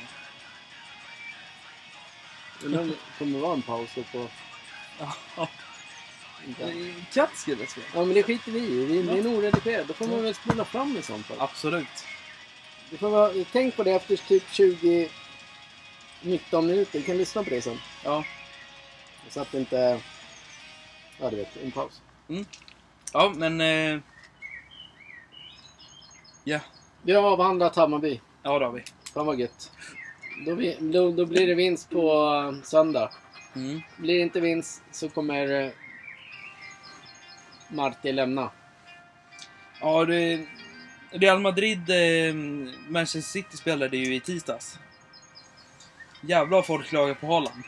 S2: Undrar om det kommer vara en paus då på...
S1: Ja. Katskilles spel.
S2: Ja, men det skiter vi i. Det är, det är en oredigerad. Då får man väl spola fram i sånt fall.
S1: Absolut.
S2: Du får vara, tänk på det efter typ 20... 19 minuter. Du kan lyssna på det sen.
S1: Ja.
S2: Så att det inte... Ja, du vet. En paus.
S1: Ja, men... Eh, ja,
S2: Vi har avhandlat Hammarby.
S1: ja det har vi.
S2: Fan vad gött. Då, vi, då, då blir det vinst på eh, söndag.
S1: Mm.
S2: Blir det inte vinst så kommer eh, Marti lämna.
S1: Ja, det, Real Madrid, eh, Manchester City spelade ju i tisdags. Jävlar vad folk klagar på Haaland.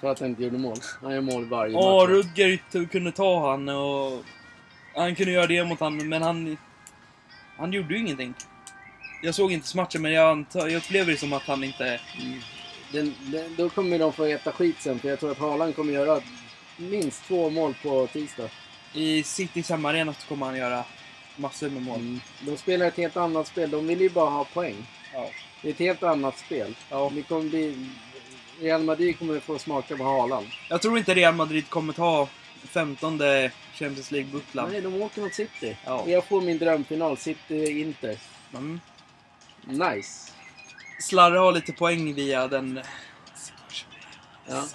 S2: För att han inte gjorde mål. Han gör mål varje
S1: Ja,
S2: match.
S1: Rudger t- kunde ta han och... Han kunde göra det mot han, men han... Han gjorde ju ingenting. Jag såg inte matchen, men jag, antar, jag upplever det som att han inte...
S2: Den, den, då kommer de få äta skit sen för jag tror att Haaland kommer göra minst två mål på tisdag.
S1: I City samma arena så kommer han göra massor med
S2: Mm.
S1: mål.
S2: De spelar ett helt annat spel. De vill ju bara ha poäng.
S1: Ja.
S2: Det är ett helt annat spel.
S1: Ja.
S2: Det kommer bli... Real Madrid kommer få smaka på Haaland.
S1: Jag tror inte Real Madrid kommer ta 15 Champions League-bucklan.
S2: Nej, de åker mot City.
S1: Ja.
S2: Jag får min drömfinal. City-Inter.
S1: Mm.
S2: Nice.
S1: Slarre har lite poäng via den...
S2: Ja.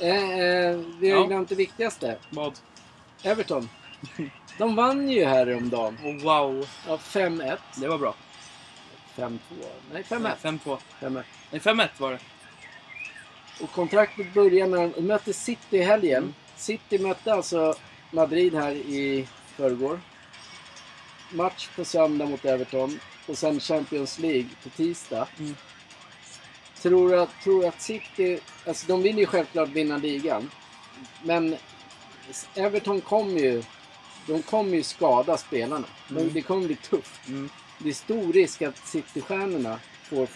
S2: Eh, eh, vi har
S1: Ja.
S2: ju glömt det viktigaste.
S1: Vad?
S2: Everton. De vann ju häromdagen.
S1: Oh, wow,
S2: Ja, 5-1.
S1: det var bra.
S2: 5-2. Nej, 5-1.
S1: 5-2.
S2: 5-1.
S1: Nej, 5-1 var det.
S2: Och kontraktet börjar när de mötte City i helgen. City mötte alltså Madrid här i förrgår. Match på söndag mot Everton och sen Champions League på tisdag.
S1: Mm.
S2: Tror du att, tror du att City... Alltså de vill ju självklart vinna ligan. Men Everton kommer ju... De kommer ju skada spelarna. De-
S1: Mm.
S2: Det kommer bli tufft.
S1: Mm.
S2: Det är stor risk att City-stjärnorna får...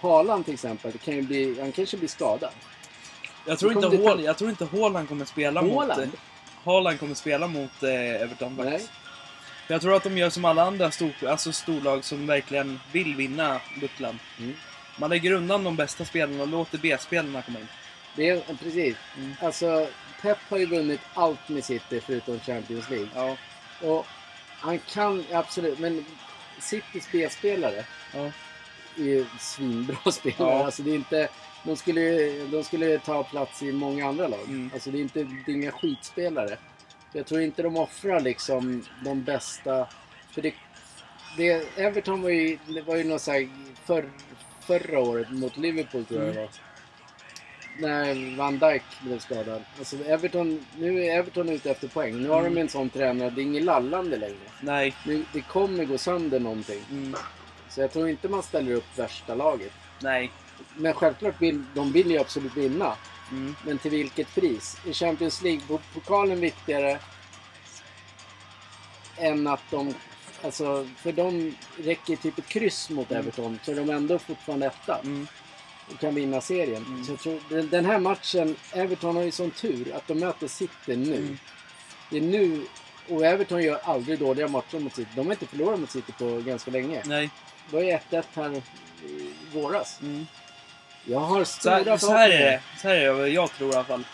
S2: Haaland till exempel, kan ju bli, han kanske blir skadad.
S1: Jag tror,
S2: Kom
S1: inte
S2: det-
S1: Haaland, jag tror inte Haaland kommer spela
S2: Haaland?
S1: mot... eh, Haaland kommer spela mot eh, Everton
S2: Nej.
S1: faktiskt. För Jag tror att de gör som alla andra stor, alltså storlag som verkligen vill vinna bucklan.
S2: Mm.
S1: Man lägger undan de bästa spelarna och låter B-spelarna komma in.
S2: Det är, precis.
S1: Mm.
S2: Alltså, Pep har ju vunnit allt med City förutom Champions League.
S1: Ja.
S2: Och han kan absolut, men Citys B-spelare
S1: Ja.
S2: är ju svinbra [LAUGHS] spelare.
S1: Ja.
S2: Alltså det är inte, de skulle ju de skulle ta plats i många andra lag.
S1: Mm.
S2: Alltså det är inte, det är inga skitspelare. Jag tror inte de offrar liksom de bästa. För det, det, Everton var ju, det var ju något så här för, förra året mot Liverpool tror jag det var. När Van Dijk blev skadad. Alltså Everton, nu är Everton ute efter poäng. Nu har
S1: Mm.
S2: de en sån tränare, det är inget lallande längre.
S1: Nej.
S2: Nu, det kommer gå sönder någonting.
S1: Mm.
S2: Så jag tror inte man ställer upp värsta laget.
S1: Nej.
S2: Men självklart vill de vill ju absolut vinna.
S1: Mm.
S2: Men till vilket pris? Är Champions League-pokalen viktigare än att de... Alltså, för dem räcker typ ett kryss mot
S1: Mm.
S2: Everton så är de ändå fortfarande etta
S1: Mm.
S2: och kan vinna serien.
S1: Mm.
S2: Så jag tror, den, den här matchen, Everton har ju sån tur att de möter City nu.
S1: Mm.
S2: Det är nu, och Everton gör aldrig dåliga matcher mot City. De har inte förlorat mot City på ganska länge.
S1: Nej.
S2: Det var ju 1-1 här i våras.
S1: Mm.
S2: Jag har
S1: Så,
S2: stora
S1: här, så här är det. Så här är det vad jag tror i alla fall.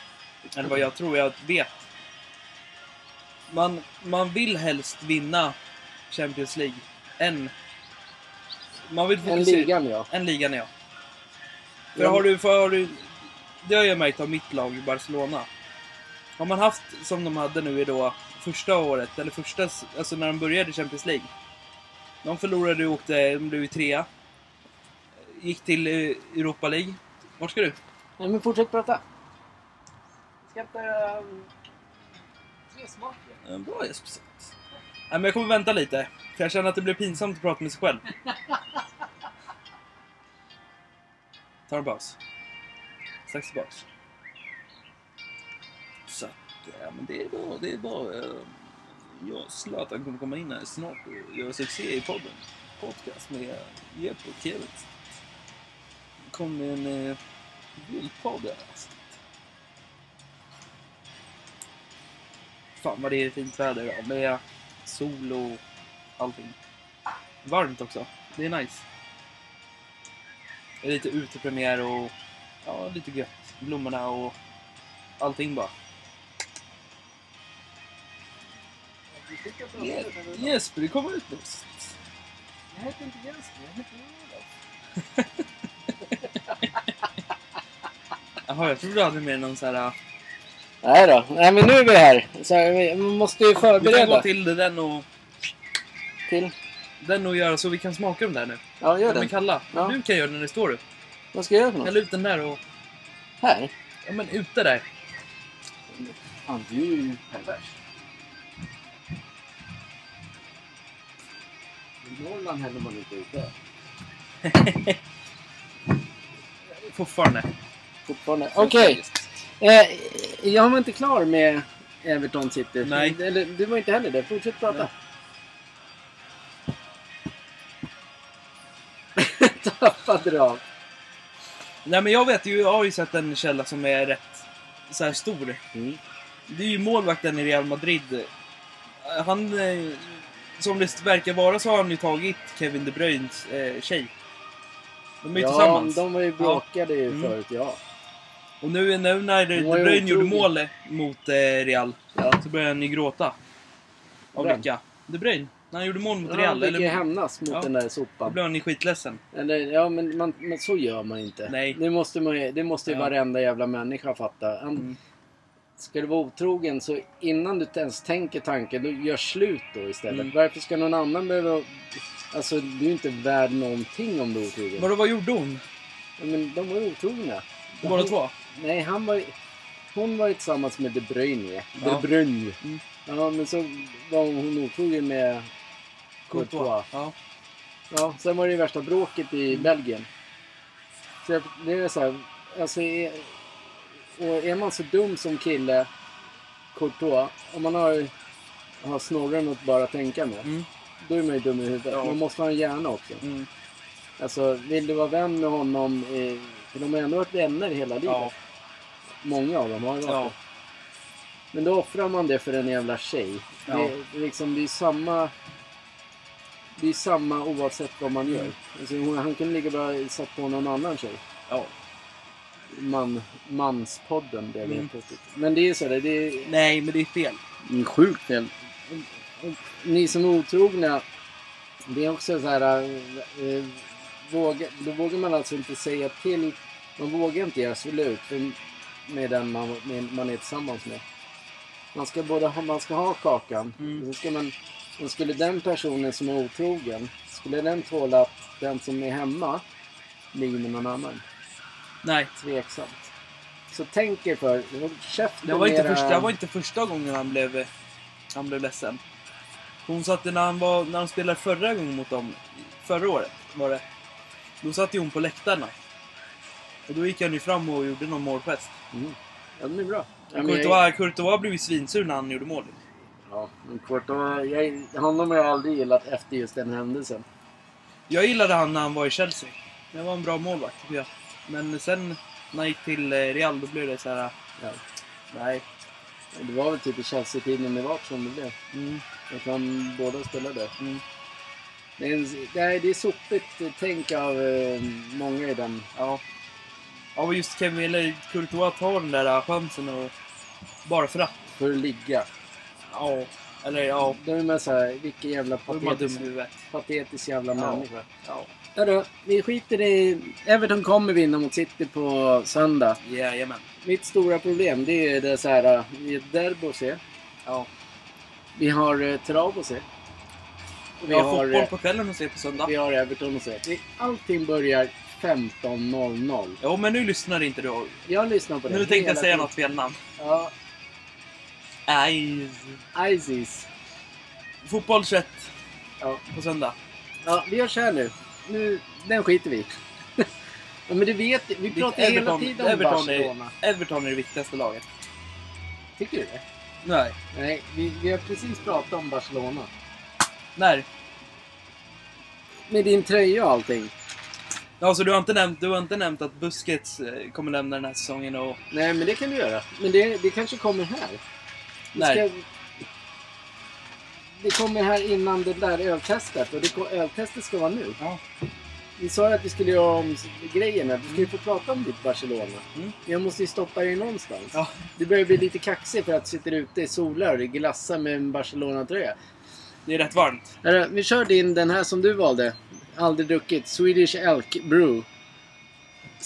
S1: Eller vad jag tror, jag vet. Man, man vill helst vinna Champions League. En... Man vill
S2: En
S1: fokusera...
S2: ligan ja.
S1: En ligan, ja. För
S2: Ja.
S1: har du, för har du... Det har jag märkt av mitt lag, Barcelona. Har man haft, som de hade nu i då, första året, eller första, s- alltså när de började i Champions League. De förlorade och åkte, de blev ju trea. Gick till eh, Europa League. Vart ska du?
S2: Nej men fortsätt prata. Ska inte... ehm, Tre smaker.
S1: Eh, Bra Jesper. Nej, men jag kommer vänta lite. För jag känner att det blir pinsamt att prata med sig själv. Tar en paus. Strax tillbaks. Så att, ja men det är bra, det är bra. eh, Jag och Zlatan kommer komma in här snart och göra succé i podden. Podcast med eh, Jeppe och Kevin. Det kommer en eh, guldpodd här alltså. Fan vad det är fint väder idag med sol och allting. Varmt också. Det är nice. Det är lite utepremiär och ja, lite gött. Blommorna och allting bara. Jesper, du kommer ut nu.
S3: Jag heter inte Jesper, jag heter Olof.
S1: Jaha, jag trodde du hade med någon så här...
S2: Nej då. Nej men nu är vi här. Så vi måste ju
S1: Vi kan gå
S2: förbereda.
S1: till den och,
S2: till.
S1: den och göra så vi kan smaka dem där nu.
S2: Ja, gör
S1: de är
S2: det.
S1: kalla.
S2: Ja.
S1: Nu kan jag göra den när det står upp.
S2: Vad ska jag göra för något?
S1: Häll ut den där och...
S2: Här?
S1: Ja men ute där.
S2: Fan, du är ju pervers. I Norrland häller man inte ut det.
S1: Fortfarande.
S2: Fortfarande. Okej. Eh, jag var inte klar med Everton City.
S1: Nej.
S2: Eller, du var inte heller det. Fortsätt prata. [LAUGHS] Tappade du av.
S1: Nej men jag vet ju, jag har ju sett en källa som är rätt så här stor. Det är ju målvakten i Real Madrid. Eh, Han, eh, som det verkar vara så har han ju tagit Kevin De Bruynes eh, tjej. De är ju
S2: Ja,
S1: tillsammans.
S2: de var ju bråkade ju
S1: Mm.
S2: förut, ja.
S1: Och nu, nu när De
S2: De var ju
S1: Bruyne gjorde mål
S2: otroliga.
S1: mot eh, Real
S2: ja.
S1: så började han ju gråta. Av
S2: Vem?
S1: lycka. De Bruyne. När han gjorde mål mot
S2: Ja, han
S1: Real.
S2: fick ju
S1: Eller,
S2: hämnas mot
S1: Ja.
S2: den där
S1: då
S2: sopan.
S1: blev han ju skitledsen.
S2: Eller, ja, men, man, men så gör man inte.
S1: Nej.
S2: Det måste, man, ju- det måste ju
S1: Ja.
S2: varenda jävla människa fatta. Han,
S1: Mm.
S2: Ska du vara otrogen så innan du ens tänker tanken, då gör slut då istället.
S1: Mm.
S2: Varför ska någon annan behöva... Alltså du är inte värd någonting om du är otrogen.
S1: Vadå, vad gjorde hon?
S2: Ja, Men de var ju otrogna.
S1: Båda
S2: Han-
S1: två?
S2: Nej, han var ju... Hon var ju tillsammans med De Bruyne.
S1: Ja.
S2: De Bruyne.
S1: Mm.
S2: Ja, men så var hon otrogen med Courtois.
S1: Ja.
S2: Ja, sen var det ju värsta bråket i Belgien. Så jag, det är så här, alltså är, och är man så dum som kille, Courtois, om man har, har snorren att bara tänka med,
S1: Mm.
S2: då är man ju dum i huvudet.
S1: Ja.
S2: Man måste ha en hjärna också.
S1: Mm.
S2: Alltså, vill du vara vän med honom, eh, för de har ändå varit vänner hela livet.
S1: Ja.
S2: Många av dem har ju varit
S1: Ja.
S2: det. Men då offrar man det för en jävla tjej.
S1: Ja.
S2: Det, är liksom, det är samma... Det är samma oavsett vad man gör.
S1: Mm.
S2: Alltså, hon, han kunde lika bra satt på någon annan tjej.
S1: ja.
S2: Man, manspodden blev
S1: Mm.
S2: helt plötsligt. Men det är ju så där, det är...
S1: Nej, men det är fel.
S2: Det är sjukt fel. Ni som är otrogna, det är också så här... eh, våga, då vågar man alltså inte säga till. Man vågar inte göra slut för- med den man, med, man är tillsammans med. Man ska, både ha, man ska ha kakan.
S1: Mm.
S2: och Så ska man, och skulle den personen som är otrogen, skulle den tåla att den som är hemma ligger med någon annan?
S1: Nej.
S2: Tveksamt. Så tänk er för. Håll käften
S1: Det var, inte
S2: med era-
S1: första, det var inte första gången han blev, han blev ledsen. Hon satte när han, var, när han spelade förra gången mot dem, förra året var det. Då satt ju hon på läktarna. Och då gick han ju fram och gjorde någon målgest.
S2: Mm. Ja, den är bra. Ja, men jag-
S1: Courtois, Courtois blev ju svinsur när han gjorde mål.
S2: Ja, men Courtois, jag, honom har jag aldrig gillat efter just den händelsen.
S1: Jag gillade han när han var i Chelsea. Det var en bra målvakt tycker jag. Men sen när han gick till eh, Real då blev det så här. eh,
S2: Ja.
S1: Nej.
S2: Det var väl typ i Chelsea-tiden det vart som det blev.
S1: Mm,
S2: Jag kan båda spelade.
S1: mm.
S2: Det är, en- nej, det är sopigt eh, tänk av eh, många i den.
S1: Ja. Ja, men just Kevin, eller Courtois tar den där chansen och... Bara för att.
S2: För att ligga.
S1: Ja. Eller ja.
S2: Då är man såhär, vilken jävla
S1: Då är man dum i
S2: patetisk,
S1: huvudet.
S2: patetisk jävla
S1: Ja.
S2: människa.
S1: Ja.
S2: Hörru, vi skiter i... Everton kommer vinna mot City på söndag.
S1: Jajamän.
S2: Mitt stora problem det är det såhär, eh, vi är ett derby att se.
S1: Ja.
S2: Vi har eh, trav att se. Och
S1: Vi har,
S2: eh,
S1: fotboll på kvällen och ser på söndag.
S2: Vi har Everton och så. Det- Allting börjar 15.00.
S1: Jo, men nu lyssnar inte du.
S2: Jag lyssnar på det
S1: Nu tänkte jag
S2: hela
S1: säga
S2: tiden.
S1: något fel namn.
S2: Ja,
S1: Nej.
S2: Isis.
S1: Fotboll 21
S2: Ja.
S1: på söndag.
S2: ja, vi gör så här nu. nu den skiter vi i. [LAUGHS] ja, men du vet, vi pratar ju hela
S1: Everton-
S2: tiden om
S1: Everton är-
S2: Barcelona.
S1: Everton är det viktigaste laget.
S2: Tycker du det?
S1: Nej.
S2: Nej, vi, vi har precis pratat om Barcelona.
S1: När?
S2: Med din tröja och allting.
S1: Ja, så du har inte nämnt, du har inte nämnt att Busquets eh, kommer lämna den här säsongen och...
S2: Nej, men det kan du göra. Men det, det kanske kommer här. Det,
S1: Nej.
S2: ska- det kommer här innan det där öltestet. Och det, ko- öltestet ska vara nu.
S1: Ja.
S2: Vi sa ju att vi skulle göra om grejerna. Du ska ju få prata om ditt Barcelona.
S1: Mm.
S2: Jag måste ju stoppa dig någonstans.
S1: Ja.
S2: Du börjar bli lite kaxig för att du sitter ute i solar och glassar med en Barcelona-tröja.
S1: Det är rätt varmt.
S2: Hörru, Vi kör din, den här som du valde. Aldrig druckit. Swedish Elk Brew.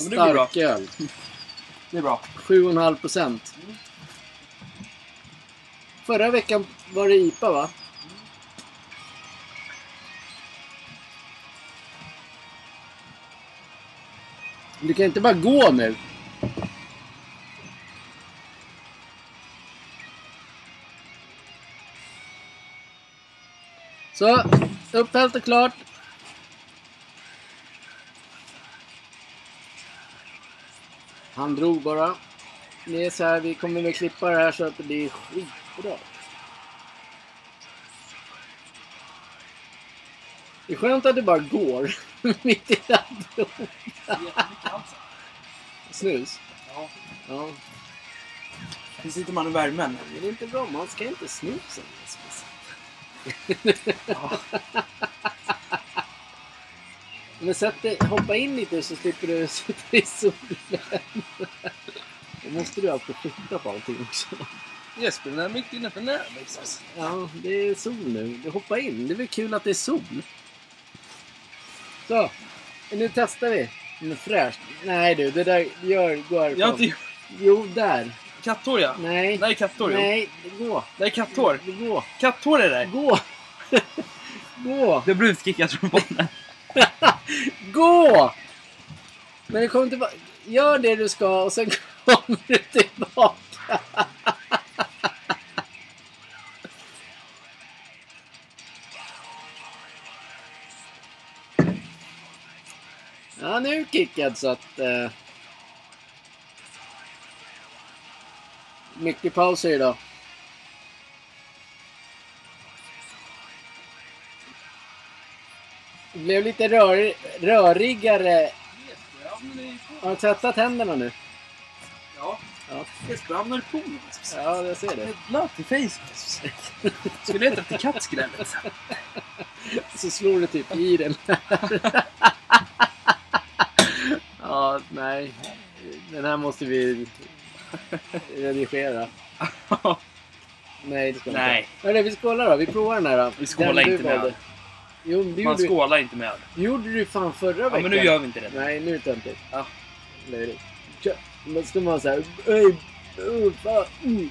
S1: men det går bra.
S2: Starköl.
S1: Det är bra.
S2: 7,5 procent. Förra veckan var det IPA va? Du kan inte bara gå nu. Så, upphällt och klart. Han drog bara. Det är så här, vi kommer väl klippa det här så att det blir skitbra. Det är skönt att det bara går. [LAUGHS] Mitt i allt snus.
S1: Ja.
S2: Ja.
S1: Nu sitter man i värmen.
S2: Men det är inte bra, man ska inte [LAUGHS] snusa. Men sätt dig, hoppa in lite så slipper du [LAUGHS] sitta i solen. Då måste du alltid flytta på allting också.
S1: Jesper, den är mitt innanför näven.
S2: Ja, det är sol nu. Du hoppa in. Det är väl kul att det är sol. Så, nu testar vi. Mm, Fräscht. Nej du, det där gör, gå härifrån.
S1: Jag har inte gjort
S2: Jo, där.
S1: katthår, ja.
S2: Nej.
S1: Det här är katthår, jo.
S2: Nej, gå.
S1: Det är katthår.
S2: Gå.
S1: Katthår är det.
S2: Gå! [LAUGHS] Gå!
S1: Det blir utskickat från botten.
S2: Gå! Men du kommer tillbaka. Gör det du ska och sen [LAUGHS] kommer du tillbaka. Ja, nu är kickad så att... Eh, mycket pauser idag. Det blev lite rör, rörigare.
S1: Jesper, jag hamnar i poolen.
S2: Har du tvättat händerna nu?
S1: Ja.
S2: Ja.
S1: Jesper, jag hamnar i poolen. Jesper.
S2: Ja, jag ser
S1: Jag
S2: det.
S1: är blöt i face. Skulle leta efter kattskrället.
S2: Så slår du typ i den [LAUGHS] Ja, nej. Den här måste vi redigera. Nej, det ska vi
S1: [LAUGHS] Nej.
S2: inte. Hörru, vi skålar då. Vi provar den här. då.
S1: Vi skålar
S2: Den du
S1: inte med
S2: valde.
S1: öl.
S2: Jo, men det
S1: Man
S2: gjorde, vi-
S1: skålar inte med öl.
S2: gjorde du fan förra
S1: Ja,
S2: veckan.
S1: men nu gör vi inte det.
S2: Nej, nu är det töntigt.
S1: Ja.
S2: Löjligt. Kör. Då ska man såhär... Öj, öj, fan, mm.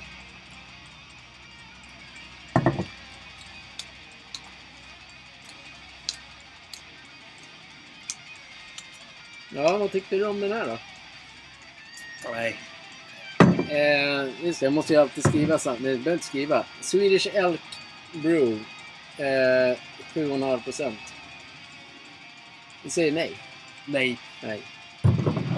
S2: Ja, vad tyckte du om den här då?
S1: Nej.
S2: Eh, just det, jag måste ju alltid skriva sant. Nej, jag behöver inte skriva. Swedish Elk Brew. Eh, 7,5 procent. Vi säger nej.
S1: Nej.
S2: Nej.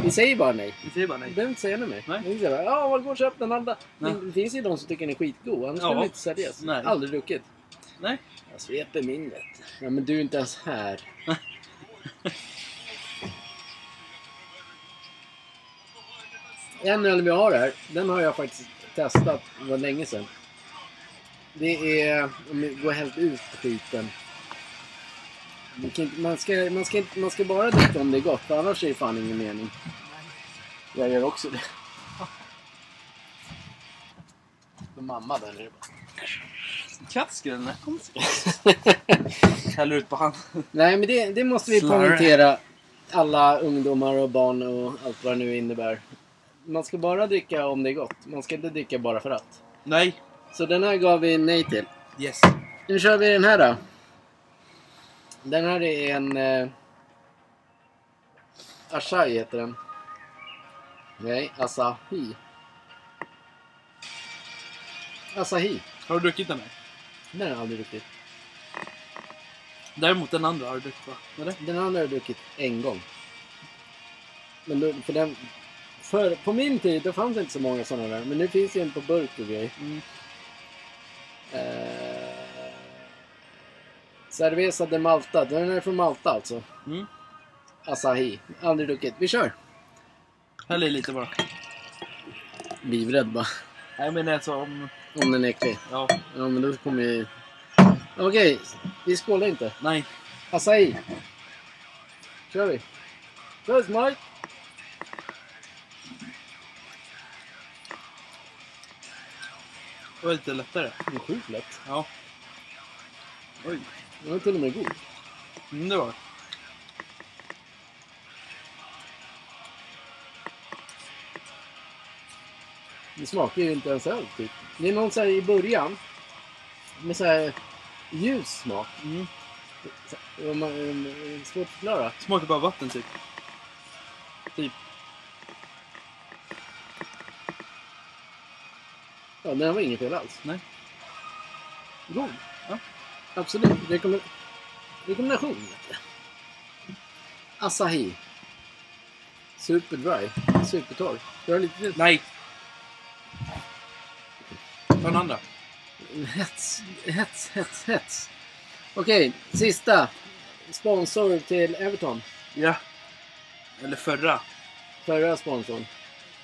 S2: Vi säger bara nej.
S1: Vi säger bara
S2: Vi
S1: nej.
S2: behöver inte säga något mer.
S1: Nej.
S2: Vi säger bara, ja, man går och köper den andra.
S1: Nej.
S2: Men Det finns ju de som tycker den är skitgod, annars
S1: Ja.
S2: skulle vi inte seriös.
S1: Nej.
S2: Aldrig druckit. Alltså,
S1: Nej.
S2: Jag sveper minnet. Ja, men du är inte ens här.
S1: [LAUGHS]
S2: en öl vi har här, den har jag faktiskt testat, det var länge sedan. Det är, om vi går helt ut skiten. Man, kan, inte- man, ska, man, ska, inte- man ska bara dricka om det är gott, för annars är det fan ingen mening. Jag gör också det. Och mamma där nere bara.
S1: Kattskrällen, när kom
S2: [LAUGHS]
S1: Häller ut på handen.
S2: Nej, men det, det måste vi
S1: Slarre.
S2: poängtera. Alla ungdomar och barn och allt vad det nu innebär. Man ska bara dricka om det är gott. Man ska inte dricka bara för att.
S1: Nej.
S2: Så den här gav vi nej till.
S1: Yes.
S2: Nu kör vi den här då. Den här är en... Eh, Asahi heter den. Nej, Asahi. Asahi.
S1: Har du druckit den här?
S2: Den har jag aldrig druckit.
S1: Däremot den andra har du druckit va? Eller?
S2: Den andra har jag druckit en gång. Men då, för den... För, på min tid då fanns det inte så många sådana där. Men nu finns det en på burk och grej.
S1: Mm.
S2: Eh, Cerveza de Malta. Den är från Malta alltså.
S1: Mm.
S2: Asahi. Aldrig druckit. Vi kör!
S1: Häll i lite bara.
S2: Livrädd bara.
S1: Nej men alltså om...
S2: Om den är äcklig.
S1: Ja.
S2: Ja men då kommer ju... Okej, vi skålar inte.
S1: Nej.
S2: Asahi. Kör vi. Puss Mike!
S1: Det var lite lättare.
S2: Det är sjukt lätt.
S1: Ja. Oj.
S2: Den var till och med god.
S1: Mm, det var det.
S2: Det smakar ju inte ens öl typ. Det är någon så här i början med så här ljus smak.
S1: Mm.
S2: Så här, om man- om- om- Svårt att förklara.
S1: Smakar bara vatten typ.
S2: Ja, den var inget fel alls.
S1: Nej.
S2: God.
S1: Ja.
S2: Absolut. Rekommend- rekommendation. vet du. Asahi. Superdry. Supertorr. Ska du ha lite till?
S1: Nej! Ta den andra.
S2: Hets, hets, hets, hets. Okej, sista. Sponsor till Everton.
S1: Ja. Eller förra.
S2: Förra sponsorn.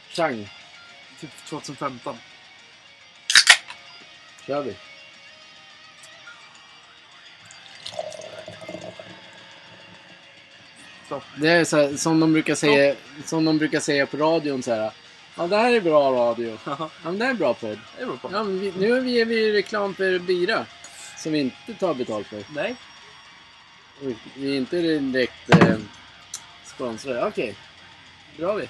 S2: Chang.
S1: Typ 2015.
S2: Kör vi.
S1: Så. [LAUGHS]
S2: Det är så här, som, de brukar säga, som de brukar säga på radion så här. Ja, det här är bra radio.
S1: Haha,
S2: Ja, men det här är bra podd.
S1: det beror på.
S2: Ja, men vi, nu ger vi reklam för bira. Som vi inte tar betalt för.
S1: Nej.
S2: Och Vi är inte direkt eh, sponsrade. Okej. Drar vi.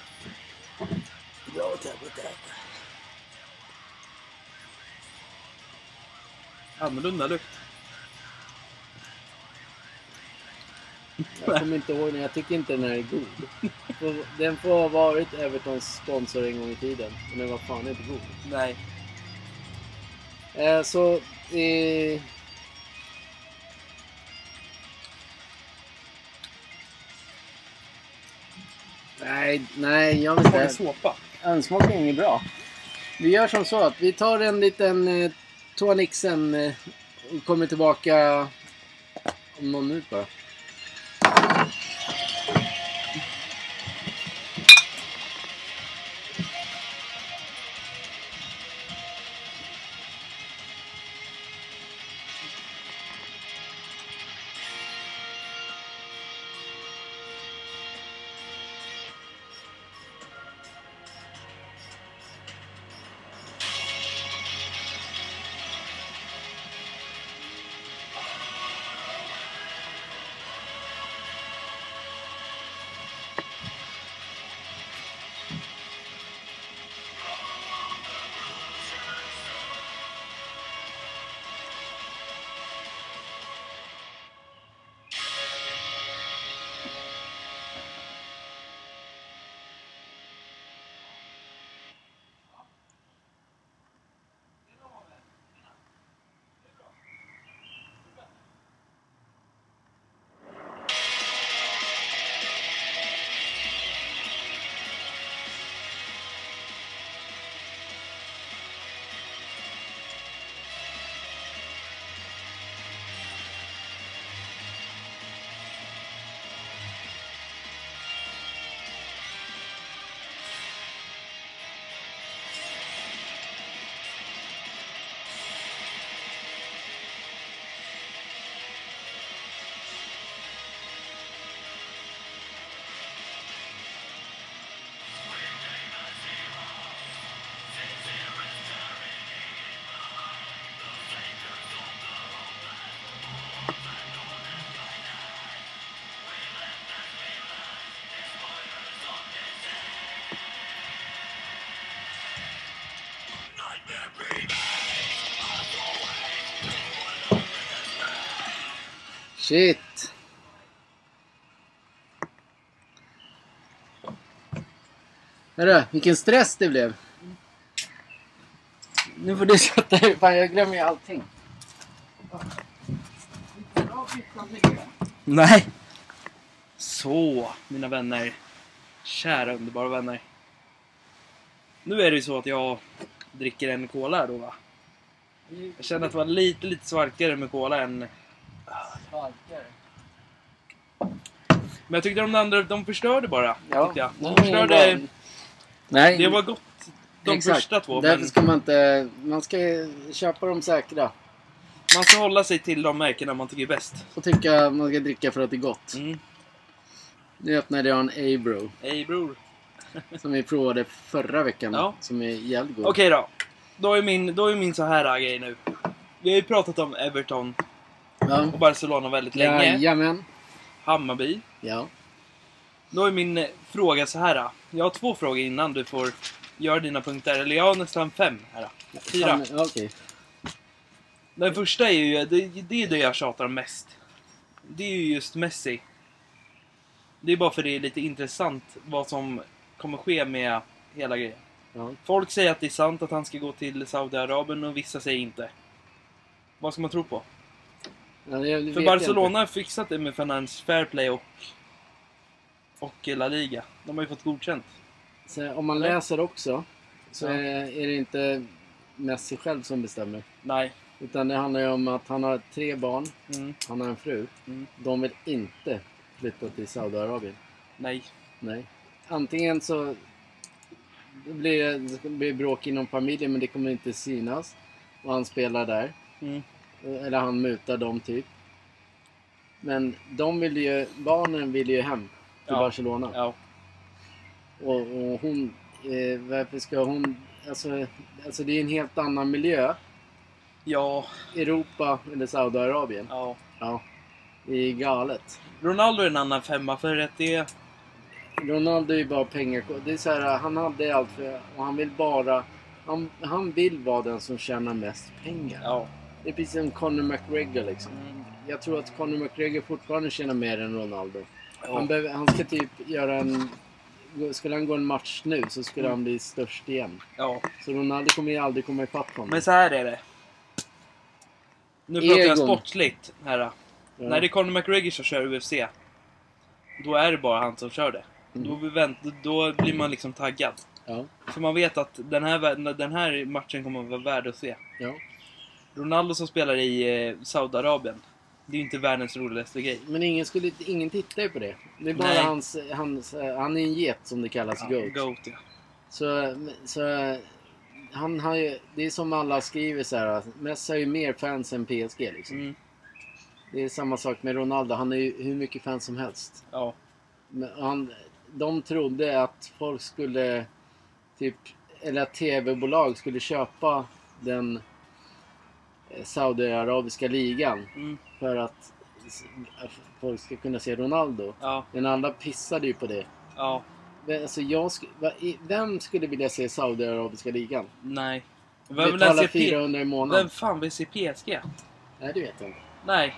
S2: Bra tempo
S1: Annorlunda lukt.
S2: Jag kommer inte ihåg, men jag tycker inte den här är god. [LAUGHS] Får- Den får ha varit Evertons sponsor en gång i tiden, men den var fan inte god.
S1: Nej.
S2: Eh, så... Eh... Nej, nej, jag vet
S1: Var det
S2: inte.
S1: såpa?
S2: Önsmakning är bra. Vi gör som så att vi tar en liten eh, toanixen eh, och kommer tillbaka om någon minut bara. Shit! Hörru, vilken stress det blev. Nu får du sätta dig. [LAUGHS] Fan, jag glömmer ju allting.
S1: Nej. Så, mina vänner. Kära underbara vänner. Nu är det ju så att jag dricker en cola här då va? Jag känner att det var lite, lite svarkigare med cola än... Men jag tyckte de andra, de förstörde bara.
S2: Ja. Mm.
S1: Tyckte jag.
S2: Nej,
S1: De förstörde...
S2: men- Nej,
S1: Det var gott. De
S2: exakt.
S1: första två.
S2: Därför
S1: Men
S2: ska man inte... Man ska köpa de säkra.
S1: man ska hålla sig till de märkena man tycker är bäst.
S2: Och tycka man ska dricka för att det är gott.
S1: Mm.
S2: Nu öppnade jag en A-bro.
S1: Ey bror.
S2: Som vi provade förra veckan.
S1: Ja.
S2: Som är jävligt god.
S1: Okej då. Då är min, då är min så här grej nu. Vi har ju pratat om Everton
S2: Ja.
S1: och Barcelona väldigt länge.
S2: Jajamän.
S1: Hammarby.
S2: Ja.
S1: Då är min eh, fråga så här. Jag har två frågor innan du får gör dina punkter. Eller jag har nästan fem här. då. Fyra.
S2: Fan, Okej.
S1: Den första är ju, det, det är det jag tjatar om mest. Det är ju just Messi. Det är bara för det är lite intressant vad som kommer ske med hela grejen.
S2: Ja.
S1: Folk säger att det är sant att han ska gå till Saudiarabien och vissa säger inte. Vad ska man tro på?
S2: Ja, jag vet
S1: För Barcelona har fixat det med Finance Fair Play och, och La Liga. De har ju fått godkänt.
S2: inte. Så om man läser också så är, är det inte Messi själv som bestämmer.
S1: Nej.
S2: Utan det handlar ju om att han har tre barn,
S1: Mm.
S2: han har en fru.
S1: Mm.
S2: De vill inte flytta till Saudiarabien.
S1: Nej.
S2: Nej. Antingen så det blir det blir bråk inom familjen men det kommer inte synas. Och han spelar där.
S1: Mm.
S2: Eller han mutar dem typ. Men de vill ju, barnen vill ju hem till
S1: Ja.
S2: Barcelona.
S1: Ja.
S2: Och, och hon, eh, varför ska hon, alltså, alltså det är en helt annan miljö.
S1: Ja.
S2: Europa eller Saudiarabien.
S1: ja.
S2: Ja. Det är galet.
S1: Ronaldo är en annan femma för att det är...
S2: Ronaldo är ju bara pengar. Det är så här, han hade allt för, och han vill bara, han, han vill vara den som tjänar mest pengar.
S1: Ja.
S2: Det är precis som Conor McGregor liksom.
S1: Mm.
S2: Jag tror att Conor McGregor fortfarande tjänar mer än Ronaldo. Han,
S1: ja.
S2: behöver, han ska typ göra en... Skulle han gå en match nu så skulle han bli störst igen.
S1: ja.
S2: Så Ronaldo kommer ju aldrig komma ikapp honom.
S1: Men så här är det. Nu pratar jag
S2: Egon.
S1: sportsligt här. då.
S2: Ja.
S1: När det är Conor McGregor som kör UFC. Då är det bara han som kör det.
S2: Mm.
S1: Då, vänt, då blir man liksom taggad.
S2: ja.
S1: För man vet att den här, vä- den här matchen kommer att vara värd att se.
S2: ja.
S1: Ronaldo som spelar i eh, Saudiarabien. Det är ju inte världens roligaste grej.
S2: Men ingen, skulle, ingen tittar ju på det. Det är bara
S1: Nej.
S2: hans, hans... Han är en get som det kallas, GOAT.
S1: Goat, ja.
S2: Så, så han har ju... Det är som alla skriver så här. att Messi har ju mer fans än PSG liksom.
S1: Mm,
S2: Det är samma sak med Ronaldo. Han har ju hur mycket fans som helst.
S1: ja.
S2: Men han, de trodde att folk skulle, typ, eller att tv-bolag skulle köpa den eh, Saudiarabiska ligan
S1: Mm,
S2: för att s- folk ska kunna se Ronaldo.
S1: ja.
S2: Men alla pissade ju på det.
S1: Ja.
S2: Men Alltså jag sk- va- i- vem skulle vilja se Saudiarabiska ligan?
S1: Nej. Vem vill
S2: Betala
S1: ens se P-
S2: 400 i månaden?
S1: Vem fan vill se PSG?
S2: Nej, det vet jag inte.
S1: Nej.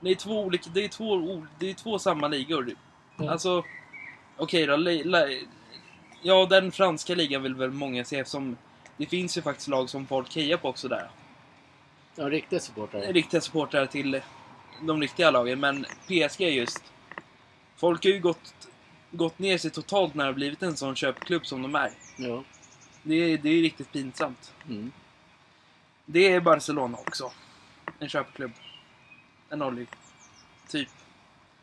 S1: Det är två olika... Det är två, o- det är två samma ligor.
S2: Mm.
S1: Alltså... Okej då. li- li- Ja, den franska ligan vill väl många se eftersom... Det finns ju faktiskt lag som folk hejar på också där.
S2: Ja, riktiga supportrar.
S1: riktiga supportrar till de riktiga lagen, men PSG just... Folk har ju gått, gått ner sig totalt när det har blivit en sån köpklubb som de är.
S2: Ja.
S1: Det är, det är riktigt pinsamt.
S2: Mm.
S1: Det är Barcelona också. En köpklubb. En ollig. Typ.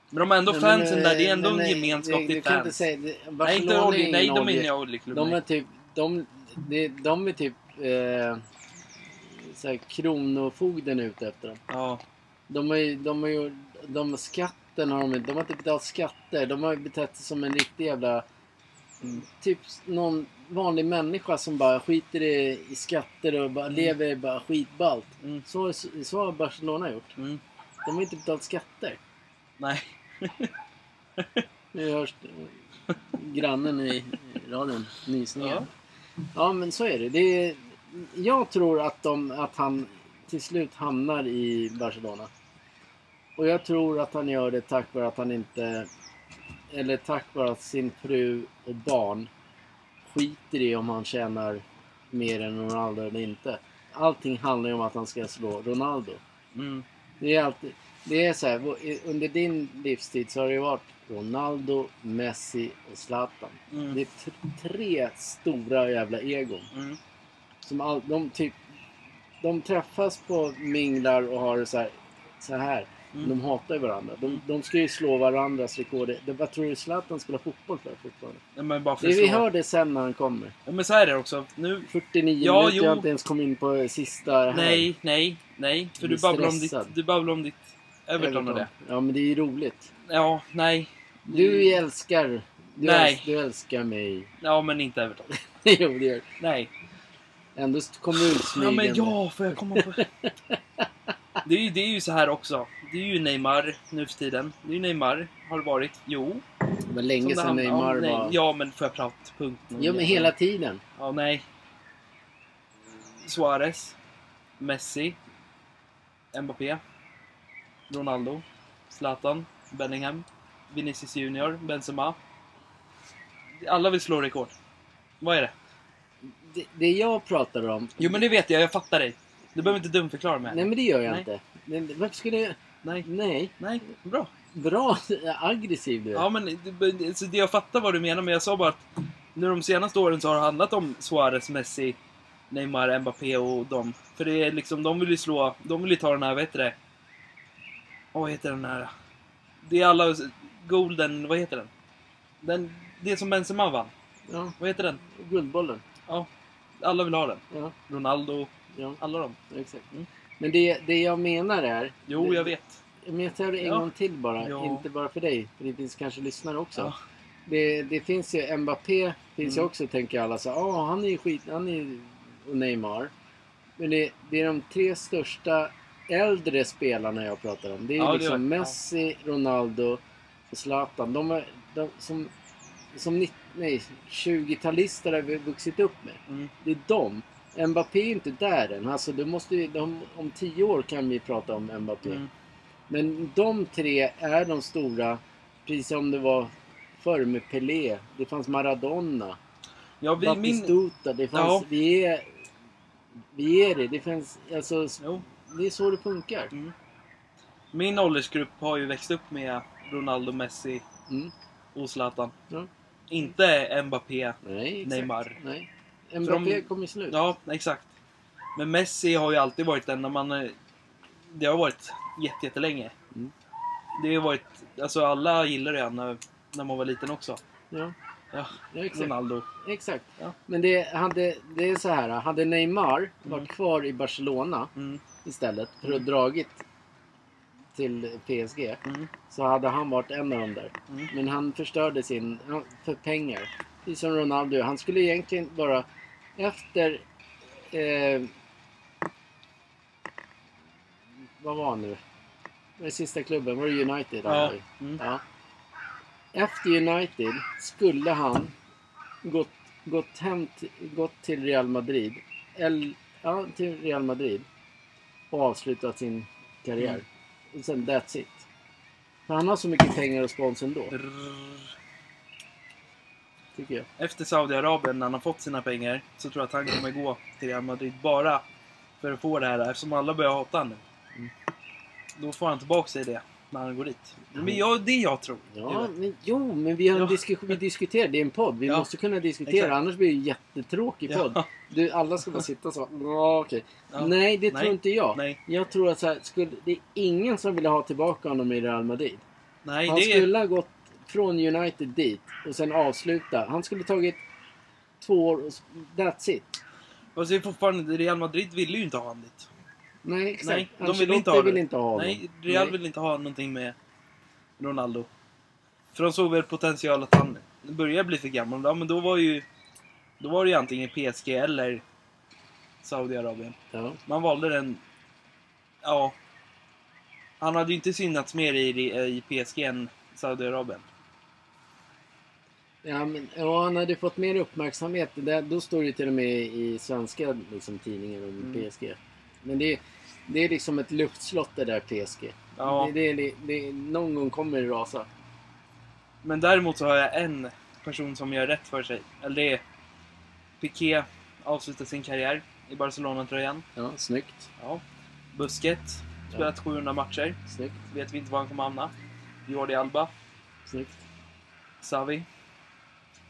S1: Men de har ändå
S2: Nej, men,
S1: fansen där, det är ändå
S2: nej, nej,
S1: en gemenskap
S2: det-
S1: till
S2: du kan inte
S1: fans.
S2: säga... det-
S1: Nej, inte
S2: Barcelona är
S1: olje,
S2: ingen
S1: nej, de är
S2: olje-
S1: inne i oljeklubb.
S2: De är
S1: nej.
S2: typ, de, de, de är typ eh, så här, kronofogden ute efter dem.
S1: Ja,
S2: De har ju, de har ju, de skatten har de inte, de har inte betalat skatter. De har ju betett sig som en riktig jävla, typ någon vanlig människa som bara skiter i, i skatter och bara lever bara skitballt.
S1: Mm.
S2: Så, så har Barcelona gjort.
S1: mm,
S2: De har inte betalat skatter.
S1: nej.
S2: Nu hörs eh, grannen i radion nysningar.
S1: Ja.
S2: Ja. men så är det. det är, jag tror att, de, att han till slut hamnar i Barcelona. Och jag tror att han gör det tack vare att han inte... Eller tack vare att sin fru och barn skiter i om han tjänar mer än Ronaldo eller inte. Allting handlar ju om att han ska slå Ronaldo.
S1: Mm,
S2: Det är alltid... Det är så här, vår- under din livstid så har det ju varit Ronaldo, Messi och Zlatan. Det
S1: mm,
S2: är t- tre stora jävla egon.
S1: mm,
S2: Som all, de typ... De träffas på minglar och har det så här. Så här.
S1: Mm.
S2: De hatar ju varandra. De, de ska ju slå varandras rekord. Det- Vad tror du Zlatan spelar fotboll för fortfarande?
S1: Nej, men bara för
S2: Det, vi
S1: att slå-
S2: hör det sen när han kommer.
S1: Ja, Men så här är det också. Nu,
S2: 49
S1: Ja,
S2: minuter, jag
S1: jo.
S2: har inte ens kommit in på sista här.
S1: Nej, nej, nej. För
S2: Jag
S1: du
S2: blir
S1: babblar, om ditt,
S2: stressad.
S1: du babblar om ditt Everton, och det.
S2: Ja, men det är ju roligt.
S1: Ja, nej.
S2: Du älskar... Du,
S1: Nej.
S2: Älskar, du älskar mig. [LAUGHS]
S1: Ja, men inte Everton.
S2: jo, det gör
S1: Nej.
S2: Ändå kommer du
S1: Ja,
S2: smygande.
S1: men ja, får jag komma på... [LAUGHS] Det är, ju, det är ju så här också. Det är ju Neymar nu för tiden. Det är ju Neymar. Har det varit. Jo.
S2: Det var länge
S1: Som det
S2: sedan
S1: handlar-
S2: Neymar
S1: ja, nej,
S2: var...
S1: Ja, men får jag prata punkt nu?
S2: Jo, men hela tiden.
S1: Ja, nej. Suarez. Messi. Mbappé. Ronaldo. Zlatan. Bellingham. Vinicius Junior. Benzema. Alla vill slå rekord. Vad är det?
S2: Det, det jag pratar om...
S1: Jo, men det vet jag. Jag fattar dig. Du behöver inte dumförklara mig.
S2: Nej, men det gör jag
S1: Nej.
S2: inte. Men, varför skulle jag...
S1: Nej.
S2: Nej.
S1: Nej, bra.
S2: Bra [LAUGHS] aggressiv du är.
S1: Ja, men det- alltså, det jag fattar vad du menar, men jag sa bara att nu de senaste åren så har det handlat om Suarez, Messi, Neymar, Mbappé och dem. För det är liksom, de vill ju slå, de vill ju ta den här, vad heter det? Åh, vad heter den här? Det är alla, Golden, vad heter den? den det är som Benzema vann.
S2: ja.
S1: Vad heter den?
S2: Guldbollen.
S1: Ja, alla vill ha den.
S2: Ja,
S1: Ronaldo,
S2: ja
S1: alla dem.
S2: exakt.
S1: Mm.
S2: Men det, det jag menar är...
S1: Jo, jag vet.
S2: Men jag tar det en
S1: Ja.
S2: gång till bara.
S1: Ja.
S2: Inte bara för dig. För det finns kanske lyssnare också.
S1: Ja.
S2: Det, det finns ju Mbappé. Finns
S1: Mm.
S2: ju också tänker alla så Ja, han är ju skit... Han är ju... Och Neymar. Men det, det är de tre största äldre spelarna jag pratar om. Det är ju
S1: Ja, det
S2: liksom
S1: gör jag.
S2: Messi, Ronaldo och Zlatan. De, är, de som... Som nitt- nej, 20-talister har vi vuxit upp med.
S1: Mm.
S2: Det är de. Mbappé är inte där än. Alltså, du måste ju, de, om tio år kan vi prata om Mbappé.
S1: Mm.
S2: Men de tre är de stora, precis som det var förr med Pelé. Det fanns Maradona,
S1: Ja, vi, min...
S2: Batistuta, det fanns...
S1: Ja.
S2: Vi är... Vi är det. Det fanns... Alltså, s-
S1: Jo.
S2: det är så det funkar.
S1: Mm. Min åldersgrupp har ju växt upp med Ronaldo, Messi
S2: Mm.
S1: och Zlatan.
S2: Ja.
S1: Inte Mbappé.
S2: Nej, exakt.
S1: Neymar.
S2: Nej. Mbappé
S1: de-
S2: kom ju slut.
S1: Ja, exakt. Men Messi har ju alltid varit den när man... eh, Det har varit jätte, jättelänge.
S2: Mm.
S1: Det har varit... Alltså alla gillar det när, när man var liten också.
S2: Ja.
S1: Ja,
S2: Ja, exakt.
S1: Ronaldo.
S2: exakt.
S1: Ja.
S2: Men det, hade, det är så här. Hade Neymar varit kvar i Barcelona
S1: Mm.
S2: istället för
S1: Mm.
S2: att dragit till PSG
S1: Mm.
S2: så hade han varit en av dem där.
S1: Mm.
S2: Men han förstörde sin... han- För pengar. Precis som Ronaldo. Han skulle egentligen bara... Efter... Eh, vad var han nu? Den sista klubben, var det United? han
S1: Ja.
S2: var i?
S1: Mm.
S2: ja. Efter United skulle han gått, gått hem till, gått till Real Madrid. El, ja, till Real Madrid. Och avslutat sin karriär.
S1: Mm.
S2: Och sen that's it. För han har så mycket pengar och spons ändå,
S1: Drrrr.
S2: tycker jag.
S1: Efter Saudiarabien, när han har fått sina pengar, så tror jag att han kommer gå till Real Madrid bara för att få det här, eftersom alla börjar hata honom nu.
S2: Mm.
S1: Då får han tillbaka sig det, när han går dit. Men
S2: Mm.
S1: jag, det är jag tror.
S2: Ja, men, jo, men vi, har en
S1: Ja.
S2: diskussion- vi diskuterar. Det är en podd. Vi
S1: Ja.
S2: måste kunna diskutera,
S1: Exakt.
S2: annars blir det en jättetråkig
S1: Ja.
S2: podd. Du, alla ska bara sitta så. Ja, okej.
S1: Ja.
S2: Nej, det
S1: Nej.
S2: tror inte jag.
S1: Nej,
S2: Jag tror att så här, skulle, det är ingen som ville ha tillbaka honom i Real Madrid.
S1: nej
S2: Han
S1: det är...
S2: skulle ha gått från United dit och sen avsluta. Han skulle tagit två år och s- that's it.
S1: Fast det är fortfarande, Real Madrid ville ju inte ha honom dit.
S2: Nej, exakt.
S1: Nej, de
S2: Ancelotti
S1: vill inte ha det.
S2: vill inte ha honom.
S1: Nej, Real
S2: Nej.
S1: vill inte ha någonting med Ronaldo. För de såg väl potential att han börjar bli för gammal. Ja, men då var ju... Då var det ju antingen PSG eller Saudiarabien.
S2: Ja.
S1: Man valde den... Ja. Han hade ju inte synats mer i, i PSG än Saudiarabien.
S2: Ja, men, ja, han hade fått mer uppmärksamhet. Det Där, då står det ju till och med i, i svenska liksom, tidningar om
S1: Mm.
S2: PSG. Men det, det är liksom ett luftslott det där PSG.
S1: Ja.
S2: Det, det, det, någon gång kommer det rasa.
S1: Men däremot så har jag en person som gör rätt för sig. Eller det är... Piqué avslutar sin karriär i Barcelona-tröjan.
S2: Ja, snyggt.
S1: Ja. Busquets. Spelat 700 matcher.
S2: Snyggt.
S1: Vet vi inte var han kommer hamna. Jordi Alba.
S2: Snyggt.
S1: Xavi.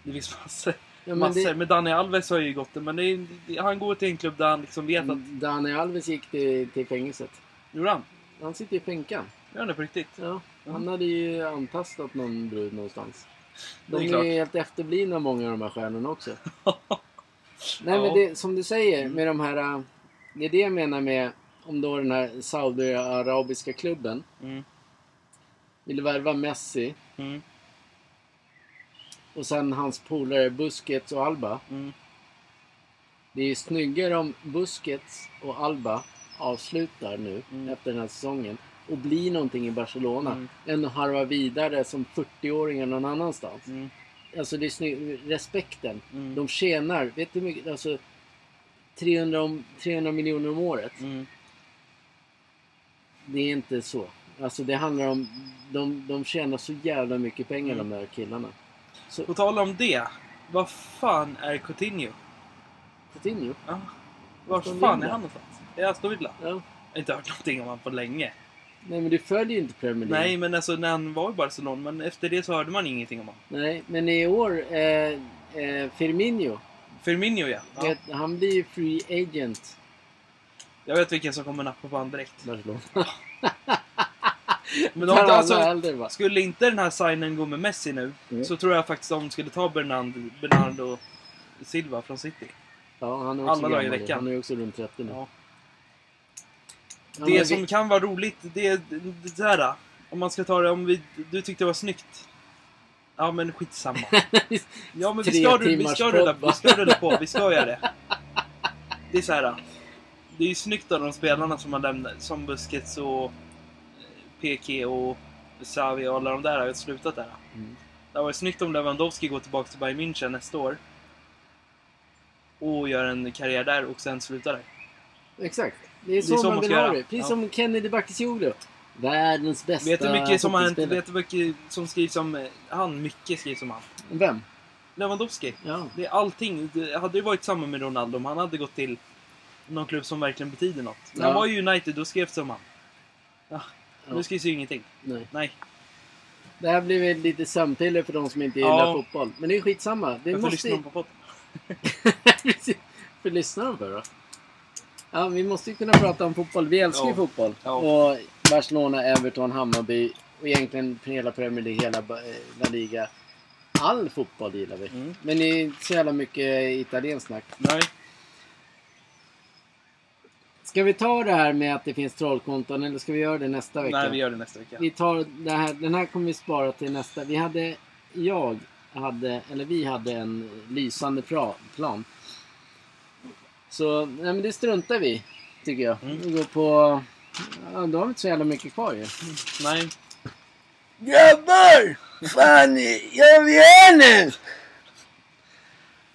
S1: Det finns massor.
S2: Ja, men
S1: massor.
S2: det,
S1: Men Dani Alves har ju gått det. Men det är, det- han går till en klubb där han liksom vet att...
S2: Dani Alves gick till, till fängelset.
S1: Gjorde han?
S2: Han sitter i fänkan.
S1: Gör han det på riktigt?
S2: Ja, han
S1: Mm.
S2: hade ju antastat någon brud någonstans.
S1: Det är
S2: De är
S1: klart.
S2: ju helt efterblivna många av de här
S1: [LAUGHS]
S2: stjärnorna också. Nej
S1: Ja.
S2: men det, som du säger
S1: Mm.
S2: med de här... äh, Det är det jag menar med om då den här Saudiarabiska klubben
S1: Mm.
S2: ville värva Messi
S1: Mm.
S2: och sen hans polare Busquets och Alba.
S1: Mm.
S2: Det är ju snyggare om Busquets och Alba avslutar nu
S1: Mm.
S2: efter den här säsongen och bli någonting i Barcelona
S1: Mm.
S2: än att harva vidare som 40-åringar någon annanstans.
S1: Mm.
S2: Alltså det är snygg, respekten.
S1: Mm.
S2: De tjänar, vet du hur mycket, alltså 300, om, 300 miljoner om året.
S1: Mm.
S2: Det är inte så. Alltså det handlar om, de, de tjänar så jävla mycket pengar
S1: Mm.
S2: de där killarna. Så,
S1: På tal om det. Vad fan är Coutinho?
S2: Coutinho?
S1: Ja. Var
S2: Aston
S1: fan är
S2: Villa.
S1: han någonstans? Är det Aston Villa?
S2: Ja.
S1: Jag har inte hört någonting om han på länge.
S2: Nej men du följer ju inte Premier League.
S1: Nej, men alltså när han var i Barcelona. Men efter det så hörde man ingenting om honom.
S2: Nej, men i år, eh, eh, Firmino,
S1: Firmino ja. ja.
S2: vet, han blir ju free agent.
S1: Jag vet vilken som kommer nappa på honom
S2: [LAUGHS]
S1: direkt.
S2: Barcelona.
S1: Men de,
S2: Tar alla
S1: alltså,
S2: äldre va?
S1: skulle inte den här signen gå med Messi nu
S2: Mm.
S1: så tror jag faktiskt de skulle ta Bernard, Bernardo Silva från City.
S2: Ja, han är också
S1: Alla dagar i
S2: gammal.
S1: veckan.
S2: Han är också runt 30 nu.
S1: Ja.
S2: Ja,
S1: Det
S2: men
S1: som
S2: vi-
S1: kan vara roligt, det är det så här. Om man ska ta det, om vi, du tyckte det var snyggt. Ja men
S2: [LAUGHS]
S1: skitsamma. Ja men vi
S2: Tre
S1: ska, rulla- vi,
S2: timmars
S1: ska rulla,
S2: podd, va?
S1: vi ska rulla på, vi ska göra
S2: [LAUGHS]
S1: det. Det är så här. Det är ju snyggt av de spelarna som man lämnar, som Busquets och eh, PK och Xavi och alla de där har ju slutat där.
S2: Mm.
S1: Det var snyggt om Lewandowski går tillbaka till Bayern München nästa år. Och gör en karriär där och sen slutar där.
S2: Exakt. Det är så, man vill ha det. Precis som Kennedy Bakircioglu. Världens bästa
S1: Vet du mycket som han,
S2: fotbollsspelare.
S1: vet du mycket som skrivs om eh, han? Mycket skrivs om han.
S2: Vem?
S1: Lewandowski.
S2: Ja.
S1: Det är allting. Det hade ju varit samma med Ronaldo om han hade gått till någon klubb som verkligen betyder något. När han
S2: Ja.
S1: var i United, då skrevs det om han. Ja,
S2: Ja.
S1: nu skrivs ju ingenting.
S2: Nej.
S1: Nej.
S2: Det här blir väl lite sömntille för de som inte
S1: Ja.
S2: gillar fotboll. Men det är skitsamma. Det
S1: Varför
S2: måste...
S1: lyssnar de på podden?
S2: Precis. För lyssnar de för då? Ja, vi måste ju kunna prata om fotboll. Vi älskar ju
S1: Ja.
S2: fotboll.
S1: Ja.
S2: Och Barcelona, Everton, Hammarby och egentligen hela Premier League, hela Ba- eh, La Liga. All fotboll gillar vi.
S1: Mm.
S2: Men det är inte så jävla mycket italienskt snack.
S1: Nej.
S2: Ska vi ta det här med att det finns trollkonton eller ska vi göra det nästa vecka?
S1: Nej, vi gör det nästa vecka.
S2: Vi tar det här, den här kommer vi spara till nästa. Vi hade, jag hade, eller vi hade en lysande pra, plan. Så, nej men det struntar vi, tycker jag.
S1: Mm.
S2: Vi går på, ja, då har vi inte så jävla mycket kvar ju.
S1: Nej.
S2: Grabbar! Fan, jag vi är nu!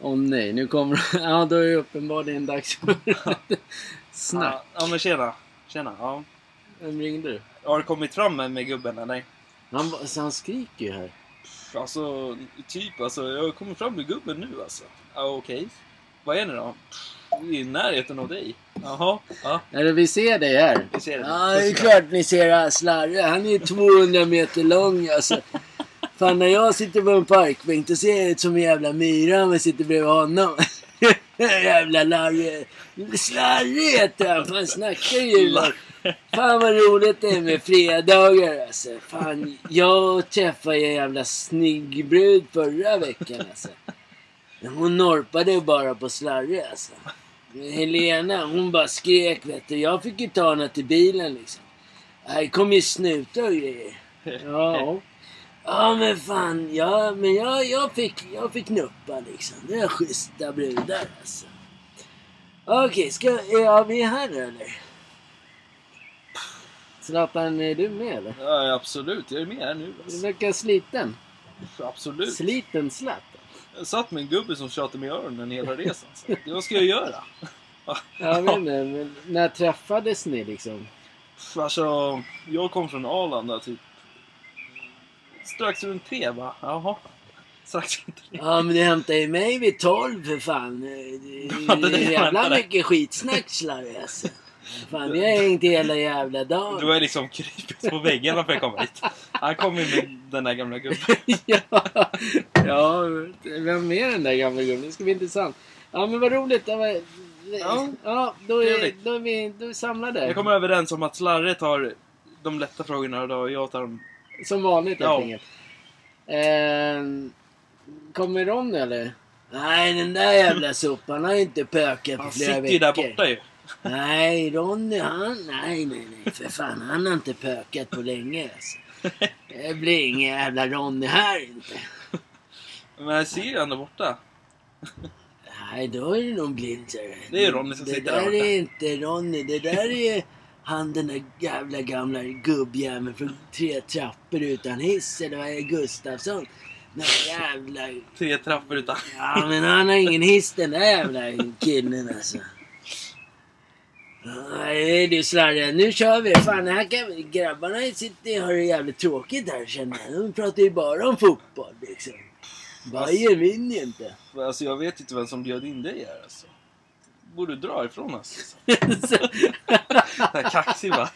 S2: Åh nej, nu kommer [LAUGHS] Ja, då är det uppenbarligen dags [LAUGHS] för snack.
S1: Ja, ja, men tjena. Tjena. Ja.
S2: Vem ringde du?
S1: Har du kommit fram med, med gubben eller?
S2: Han, var- så han skriker ju här.
S1: Pff, Alltså, typ alltså. Jag har kommit fram med gubben nu alltså. Ja, okej. Vad är ni då? Pff, Vi är i närheten av dig. Jaha. Ja,
S2: Eller vi ser dig här.
S1: vi ser det.
S2: Ja, det är klart ni ser Slarre. Han är ju 200 meter lång alltså. Fan, när jag sitter på en parkbänk då ser jag ut som en jävla myra om jag sitter bredvid honom. [LAUGHS] jävla Larre. Slarre heter han. Fan, snackar ju. Fan vad roligt det är med fredagar alltså. Fan, jag träffade en jävla snygg brud förra veckan alltså. Hon norpade bara på slarre alltså. Helena, hon bara skrek vet du. Jag fick ju ta henne till bilen liksom. Här kom ju snutar och grejer. Ja. Ja men fan, ja, men jag, jag, fick, jag fick knuppa liksom. Det är schyssta brudar alltså. Okej, ska, är vi här eller? Zlatan, är du med eller?
S1: Ja, absolut. Jag är med här nu.
S2: Du
S1: Alltså.
S2: verkar sliten.
S1: Absolut.
S2: Sliten Zlatan?
S1: Jag satt med en gubbe som tjatade mig i öronen hela resan. Så. Det, vad ska jag göra?
S2: Ja, men, men när träffades ni liksom?
S1: Pff, Alltså, jag kom från Arlanda typ strax runt tre va? Jaha. Strax runt tre.
S2: Ja, men du hämtade ju mig vid tolv för fan. Det
S1: [LAUGHS] Ja, det
S2: är
S1: är
S2: jävla
S1: sköntare.
S2: mycket skitsnack slarvar jag, alltså. Fan, jag har hängt hela jävla
S1: Du
S2: dagen.
S1: har liksom krypit på väggarna för jag kom hit. Han kom ju med den där gamla gubben.
S2: Ja, ja, vem är den där gamla gubben? Det ska bli intressant. Ja, men vad roligt. Det var...
S1: Ja.
S2: ja, då är,
S1: Trevligt.
S2: då är vi då är vi samlade.
S1: Jag kommer överens om att Slarre tar de lätta frågorna idag och jag tar de...
S2: Som vanligt helt
S1: Ja.
S2: enkelt. Ehm, kommer de nu eller? Nej, den där jävla sopan har ju inte pökat på
S1: Han
S2: flera
S1: sitter
S2: veckor.
S1: ju där borta ju.
S2: Nej, Ronny han... Nej, nej, nej. För fan, han har inte pökat på länge.
S1: [LAUGHS]
S2: Alltså. Det blir ingen jävla Ronny här inte.
S1: Men jag ser ju han där borta.
S2: Nej, då är det nog blind. ser du.
S1: Det är ju Ronny som
S2: det
S1: sitter
S2: där
S1: där borta.
S2: är inte Ronny. Det där är Han den där jävla gamla gubbjäveln från tre trappor utan hiss eller vad är det, Gustafsson? Den där jävla...
S1: Tre trappor utan...
S2: Ja men han har ingen hiss den där jävla killen alltså. Nej du slarre, nu kör vi! Fan, här kan... grabbarna sitter, har det jävligt tråkigt här känner jag. De pratar ju bara om fotboll liksom. Bayern vinner
S1: [LAUGHS]
S2: ju inte. [LAUGHS]
S1: Alltså jag vet inte vem som bjöd in dig här alltså. Borde dra ifrån oss. alltså? Den här kaxig va?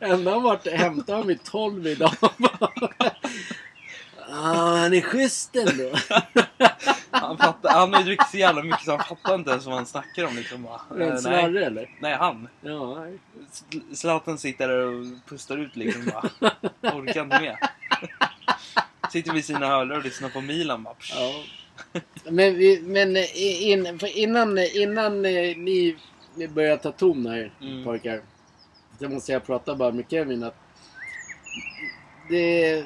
S2: Ända han vart hämtade han vid 12 idag. [LAUGHS] ah, han är schysst ändå.
S1: Han, fattar, han har ju druckit så jävla mycket så han fattar inte ens vad han snackar om liksom. Bara, eh,
S2: Men
S1: nej,
S2: Sverre eller?
S1: nej, han.
S2: Ja. nej.
S1: Zl- Zlatan sitter där och pustar ut liksom bara. Orkar inte med. Sitter vid sina hörlurar och lyssnar på Milan bara. psh.
S2: ja. Men, vi- men eh, in, för innan, innan eh, ni ni börjar ta ton här
S1: Mm.
S2: pojkar. Så måste jag prata bara med Kevin att det,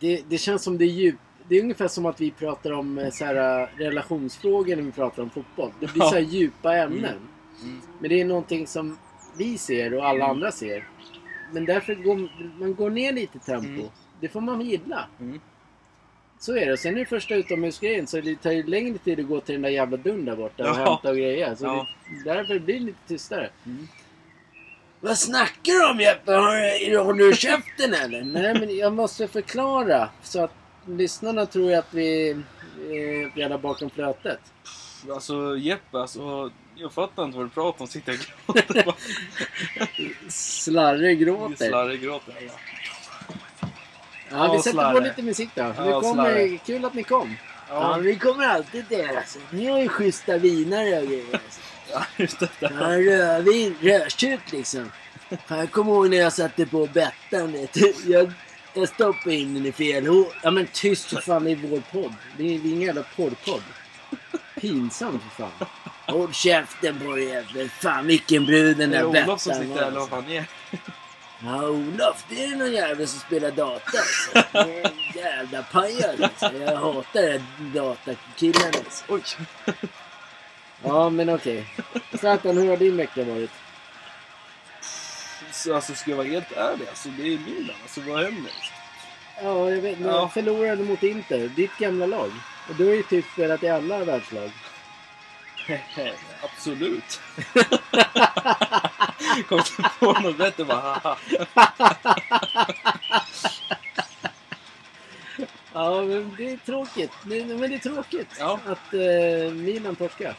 S2: det, det känns som det är djup. Det är ungefär som att vi pratar om eh, så här, eh, relationsfrågor när vi pratar om fotboll. Det blir
S1: Ja.
S2: så här djupa ämnen.
S1: Mm. Mm.
S2: Men det är någonting som vi ser och alla
S1: Mm.
S2: andra ser. Men därför går man går ner lite i tempo.
S1: Mm.
S2: Det får man gilla.
S1: Mm.
S2: Så är det. Sen är det första utomhusgrejen så det tar ju längre tid att gå till den där jävla dun där borta och
S1: Ja.
S2: hämta och grejer. Så
S1: Ja.
S2: det, därför blir det lite tystare.
S1: Mm.
S2: Vad snackar du om Jeppe? Har, har du käften eller? Nej men jag måste förklara. Så att lyssnarna tror ju att vi eh, bjäddar bakom flötet.
S1: Alltså Jeppe, alltså, jag fattar inte vad du pratar om. Sitter jag och gråter bara.
S2: Slarre gråter.
S1: Slarrig gråter.
S2: Ja,
S1: Ja,
S2: vi sätter på
S1: slarre.
S2: lite musik då. Vi
S1: Ja, slarre.
S2: kommer, kul att ni kom. Ja, vi kommer alltid till er. Alltså. Ni har ju schyssta viner och grejer. Alltså.
S1: Ja, just det.
S2: Ja, rödvin, rödtjut liksom. Fan, jag kommer ihåg när jag satte på Bettan. vet du. Jag, jag stoppade in den i fel hål. Ja men tyst för fan, det är vår podd. Det är, det är ingen jävla porrpodd. Pinsam för fan. Håll käften på dig jävel. Fan vilken brud den
S1: Det är
S2: där
S1: Olof som sitter
S2: Bettan
S1: där, eller vad
S2: alltså.
S1: fan är
S2: Ja, Olof, det är någon jävel som spelar data alltså. Det är en Jävla pajas alltså. Jag hatar den här datakillen alltså.
S1: Oj!
S2: Ja, men okej. Zlatan, hur har din vecka varit?
S1: Så, alltså, ska jag vara helt ärlig, alltså, det är Milan. Alltså, vad [LAUGHS] händer?
S2: Ja, jag vet.
S1: Ja.
S2: Ja. Förlorade mot Inter, ditt gamla lag. Och du har ju typ spelat i alla världslag.
S1: Absolut. [LAUGHS] Kom inte på något bättre bara haha.
S2: Ja, men det är tråkigt. Det, men det är tråkigt
S1: Ja.
S2: att eh, Milan torskar.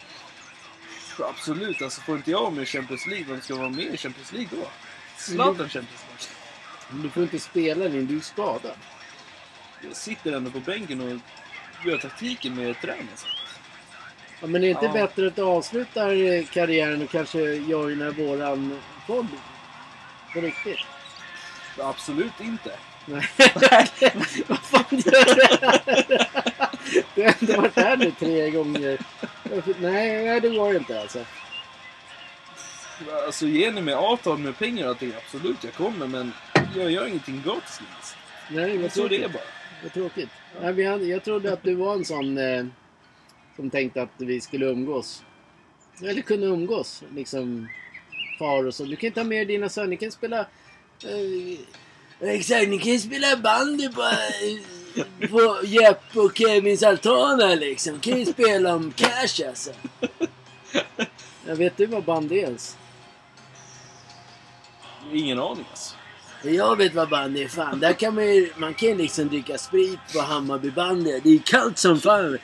S1: Absolut, alltså får inte jag vara med i Champions League, vem ska vara med i Champions League då? Zlatan Champions League.
S2: Men Du får inte spela din, du är skadad.
S1: Jag sitter ändå på bänken och gör taktiken med träning. Alltså.
S2: Ja, men är det inte
S1: Ja.
S2: bättre att du avslutar eh, karriären och kanske joinar våran podd?
S1: [LAUGHS]
S2: På riktigt?
S1: Absolut inte.
S2: Nej. Vad fan gör du här? [LAUGHS] Du har ändå varit här nu tre gånger. Nej, nej det går inte alltså.
S1: Alltså ger ni mig avtal med pengar och allting, absolut jag kommer men jag gör ingenting gratis. Liksom.
S2: Nej,
S1: Jag
S2: vad
S1: tror det är
S2: tråkigt.
S1: bara.
S2: Vad tråkigt. Nej, vi hade, jag trodde att du var en sån eh, som tänkte att vi skulle umgås. Eller kunde umgås. Liksom far och så. Du kan ju ta med dina söner. Ni kan spela... Eh, exakt, ni kan ju spela bandy på, eh, på Jeppe och Kevins altaner liksom. kan ju spela om cash alltså. Jag vet du vad bandy är ens?
S1: Ingen aning alltså.
S2: Jag vet vad bandy är fan. Där kan man, ju, man kan ju liksom dricka sprit på Hammarby bandy. Det är kallt som fan.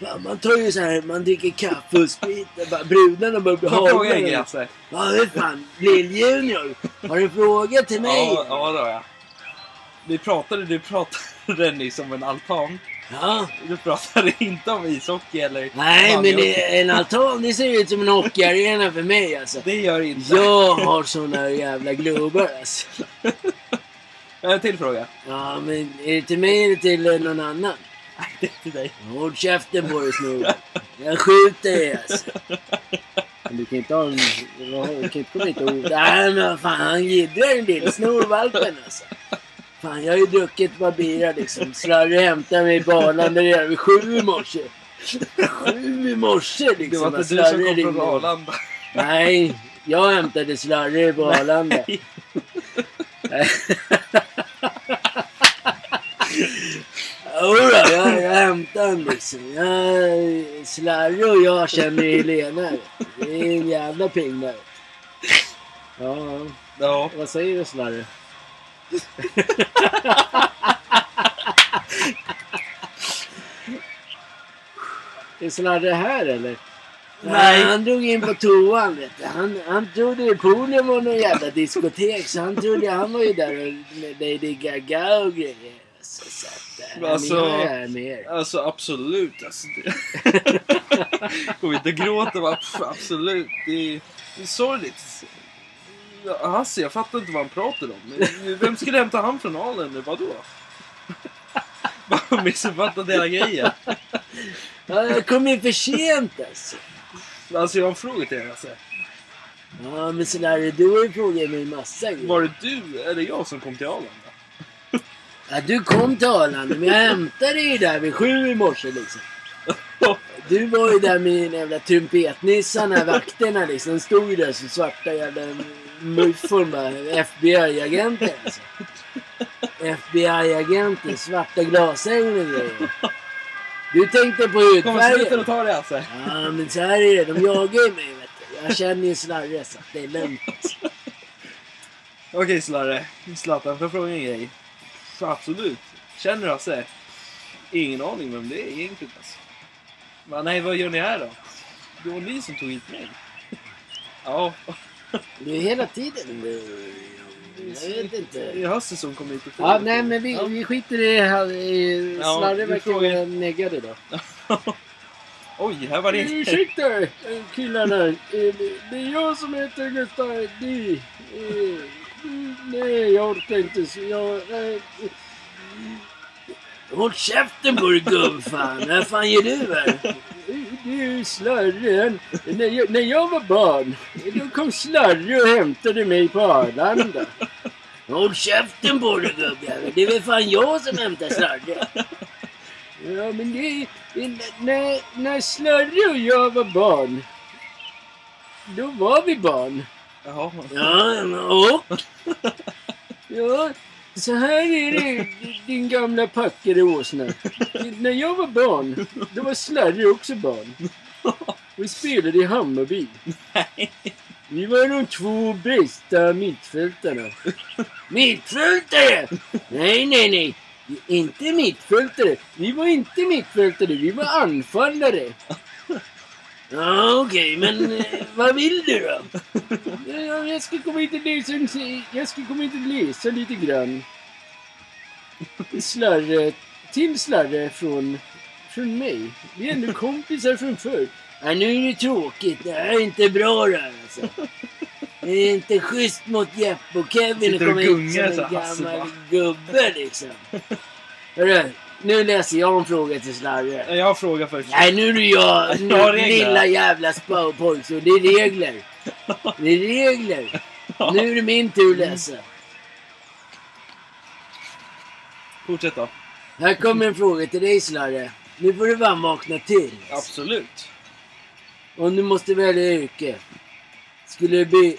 S2: Fan, Man tar ju så här, man dricker kaffe och sprit. Det är Bara, brudarna börjar bli
S1: Får jag fråga en grej
S2: hårdare.
S1: alltså?
S2: Ja, hur fan. Lill Junior, har du en fråga till mig?
S1: Ja, ja det har jag. Vi pratade, du pratade [LAUGHS] nyss om en altan.
S2: Ja.
S1: Du pratade [LAUGHS] inte om ishockey eller...
S2: Nej,
S1: Fan,
S2: men
S1: jag-
S2: det, en altan, det ser ut som en hockeyarena för mig alltså.
S1: Det gör inte.
S2: Jag har såna jävla globor alltså.
S1: En till fråga.
S2: Ja, men är det till mig eller till eh, någon annan?
S1: Nej, [LAUGHS] det är till dig.
S2: Håll käften på dig snubben. Jag skjuter dig alltså. Men du kan inte ha en... Du kan inte komma hit och... Nej men vad fan han jiddrar en del. Snorvalpen alltså. Fan jag har ju druckit vad bira liksom. Slarre hämtade mig på Arlanda redan vid sju i morse. Sju i morse
S1: Det
S2: liksom.
S1: var inte
S2: att
S1: du som
S2: Slarre
S1: kom från
S2: ringde.
S1: Arlanda.
S2: Nej, jag hämtade slarry på Arlanda. [LAUGHS] Jodå, jag, jag hämtade honom liksom. Jag, slarry och jag känner Helena. Det är en jävla ping där. Ja, ja.
S1: Ja.
S2: vad säger du slarry? [LAUGHS] Är slarry här eller?
S1: Nej.
S2: Han drog in på toan vet du. Han, han trodde poolen var någon jävla diskotek så han trodde han var ju där och med Lady Gaga och grejer. Så, så att, äh,
S1: Alltså-
S2: han är ju här med er.
S1: Alltså absolut. Alltså, det... Kom inte och gråta bara. Pff, absolut. Det är, det är sorgligt. Ja, Hasse, jag fattar inte vad han pratar om. Vem skulle hämta han från Alen nu? Vadå? Bara missuppfattat hela grejen.
S2: Ja, Jag kom ju för sent alltså.
S1: Alltså jag har en fråga till er Hasse.
S2: Ja men Solari du har ju frågat mig massa grejer.
S1: Var det du eller jag som kom till Arlanda?
S2: Ja, du kom till Arlanda, men jag hämtade dig ju där vid sju i morse liksom. Du var ju där med dina jävla trumpetnissarna, vakterna liksom. De stod ju där som svarta jävla muffon bara. FBI-agenter alltså. FBI-agenter, svarta glasögon och grejer. Du tänkte på
S1: Kom sluta
S2: hudfärgen.
S1: och ta det Hasse.
S2: Ja, men så här är det. De jagar ju mig vet du. Jag känner ju Slarre så att det är lugnt. alltså.
S1: Okej Slarre. Zlatan, får jag fråga en grej? Pff, Absolut. Känner du Hasse? Ingen aning vem det är egentligen alltså. Men nej, vad gör ni här då? Det var ni som tog hit mig. [LAUGHS] Ja,
S2: Du är hela tiden... Jag vet inte.
S1: det är Hasse som kom hit och
S2: Ja,
S1: frågade.
S2: nej men vi,
S1: Ja.
S2: vi skiter i det här. I-
S1: Ja,
S2: Slarre
S1: vi
S2: verkar
S1: frågar-
S2: vara neggad idag.
S1: Oj, här var det...
S2: Ursäkta eh, killarna. Eh, det- Det är jag som heter Gustav Di. Eh, Nej, jag orkar inte. så Jag, eh, Håll käften på dig gubbfan! Vad fan gör du här? Du slarren. När jag, när jag var barn, då kom Slarre och hämtade mig på Arlanda. Håll käften på dig gubbjävel! Det är väl fan jag som hämtar Slarre! Ja men det, det när, när Slarre och jag var barn, då var vi barn.
S1: Jaha.
S2: Ja, och? [LAUGHS] Ja, så här är det din gamla packade åsna. När jag var barn, då var Slarre också barn. Vi spelade i Hammarby. Vi var de två bästa [LAUGHS] mittfältarna. Mittfältare! Nej, nej, nej. Inte mittfältare. Vi var inte mittfältare, vi var anfallare. Ja, okej, men eh, vad vill du då? Ja, Jag ska komma hit och läsa, en- jag ska komma hit och läsa lite grann. Slarre, till Slarre från, från mig. Vi är ändå kompisar från förr. Ja, nu är det tråkigt. Det här är inte bra det här alltså. Det är inte schysst mot Jeppe och Kevin att
S1: Sitter och
S2: komma hit som
S1: gungar
S2: en
S1: så här, alltså, Hasse
S2: gammal
S1: bara.
S2: gubbe liksom. Hörru, nu läser jag en fråga till Slarre.
S1: Jag har en fråga först.
S2: Nej nu är det jag,
S1: [LAUGHS] Jag har regler.
S2: lilla jävla spöpojken. Det är regler. Det är regler. Nu är det min tur att läsa.
S1: Fortsätt då.
S2: Här kommer en fråga till dig Slarre. Nu får du fan vakna till.
S1: [LAUGHS] Absolut.
S2: Om du måste välja yrke. Skulle du bli...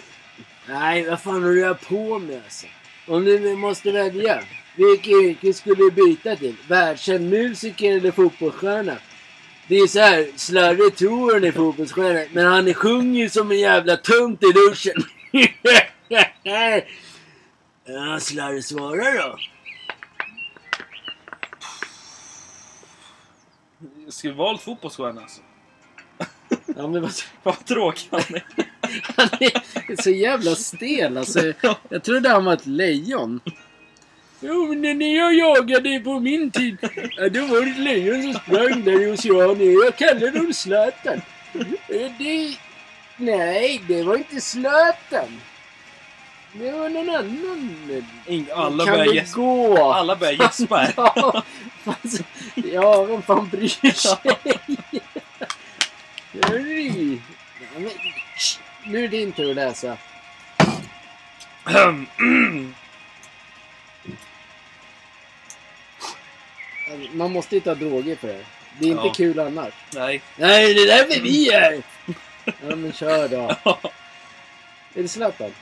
S2: Nej, vad fan håller jag på med alltså? Om du måste välja. Vilket yrke skulle du byta till? Världskänd musiker eller fotbollsstjärna? Det är så här, Slarre tror han är fotbollsstjärna, men han sjunger ju som en jävla tunt i duschen. [LAUGHS] ja, Slarre svarar då.
S1: Jag skulle valt fotbollsstjärna alltså. [LAUGHS]
S2: Ja, men vad...
S1: Vad
S2: [LAUGHS]
S1: tråkig han är.
S2: Han är så jävla stel alltså. Jag trodde han var ett lejon. Jo, men när jag jagade på min tid, ja, då var det ett lejon som sprang där i oceanen. Jag kallade dem Zlatan. Eh, Det... Nej, det var inte Zlatan. Det var någon annan.
S1: Ing- Alla
S2: kan
S1: börjar
S2: det
S1: gäspa.
S2: gå?
S1: Alla börjar gäspa här. [CLEARS THROAT]
S2: Ja, fast, ja, vem fan bryr sig? Hörru! Ja, men, tsch, Nu är det din tur att läsa. Man måste ju ta droger för det här. Det är inte
S1: Ja.
S2: kul annars.
S1: Nej.
S2: Nej, det är därför vi är Ja men kör då. Är det Zlatan?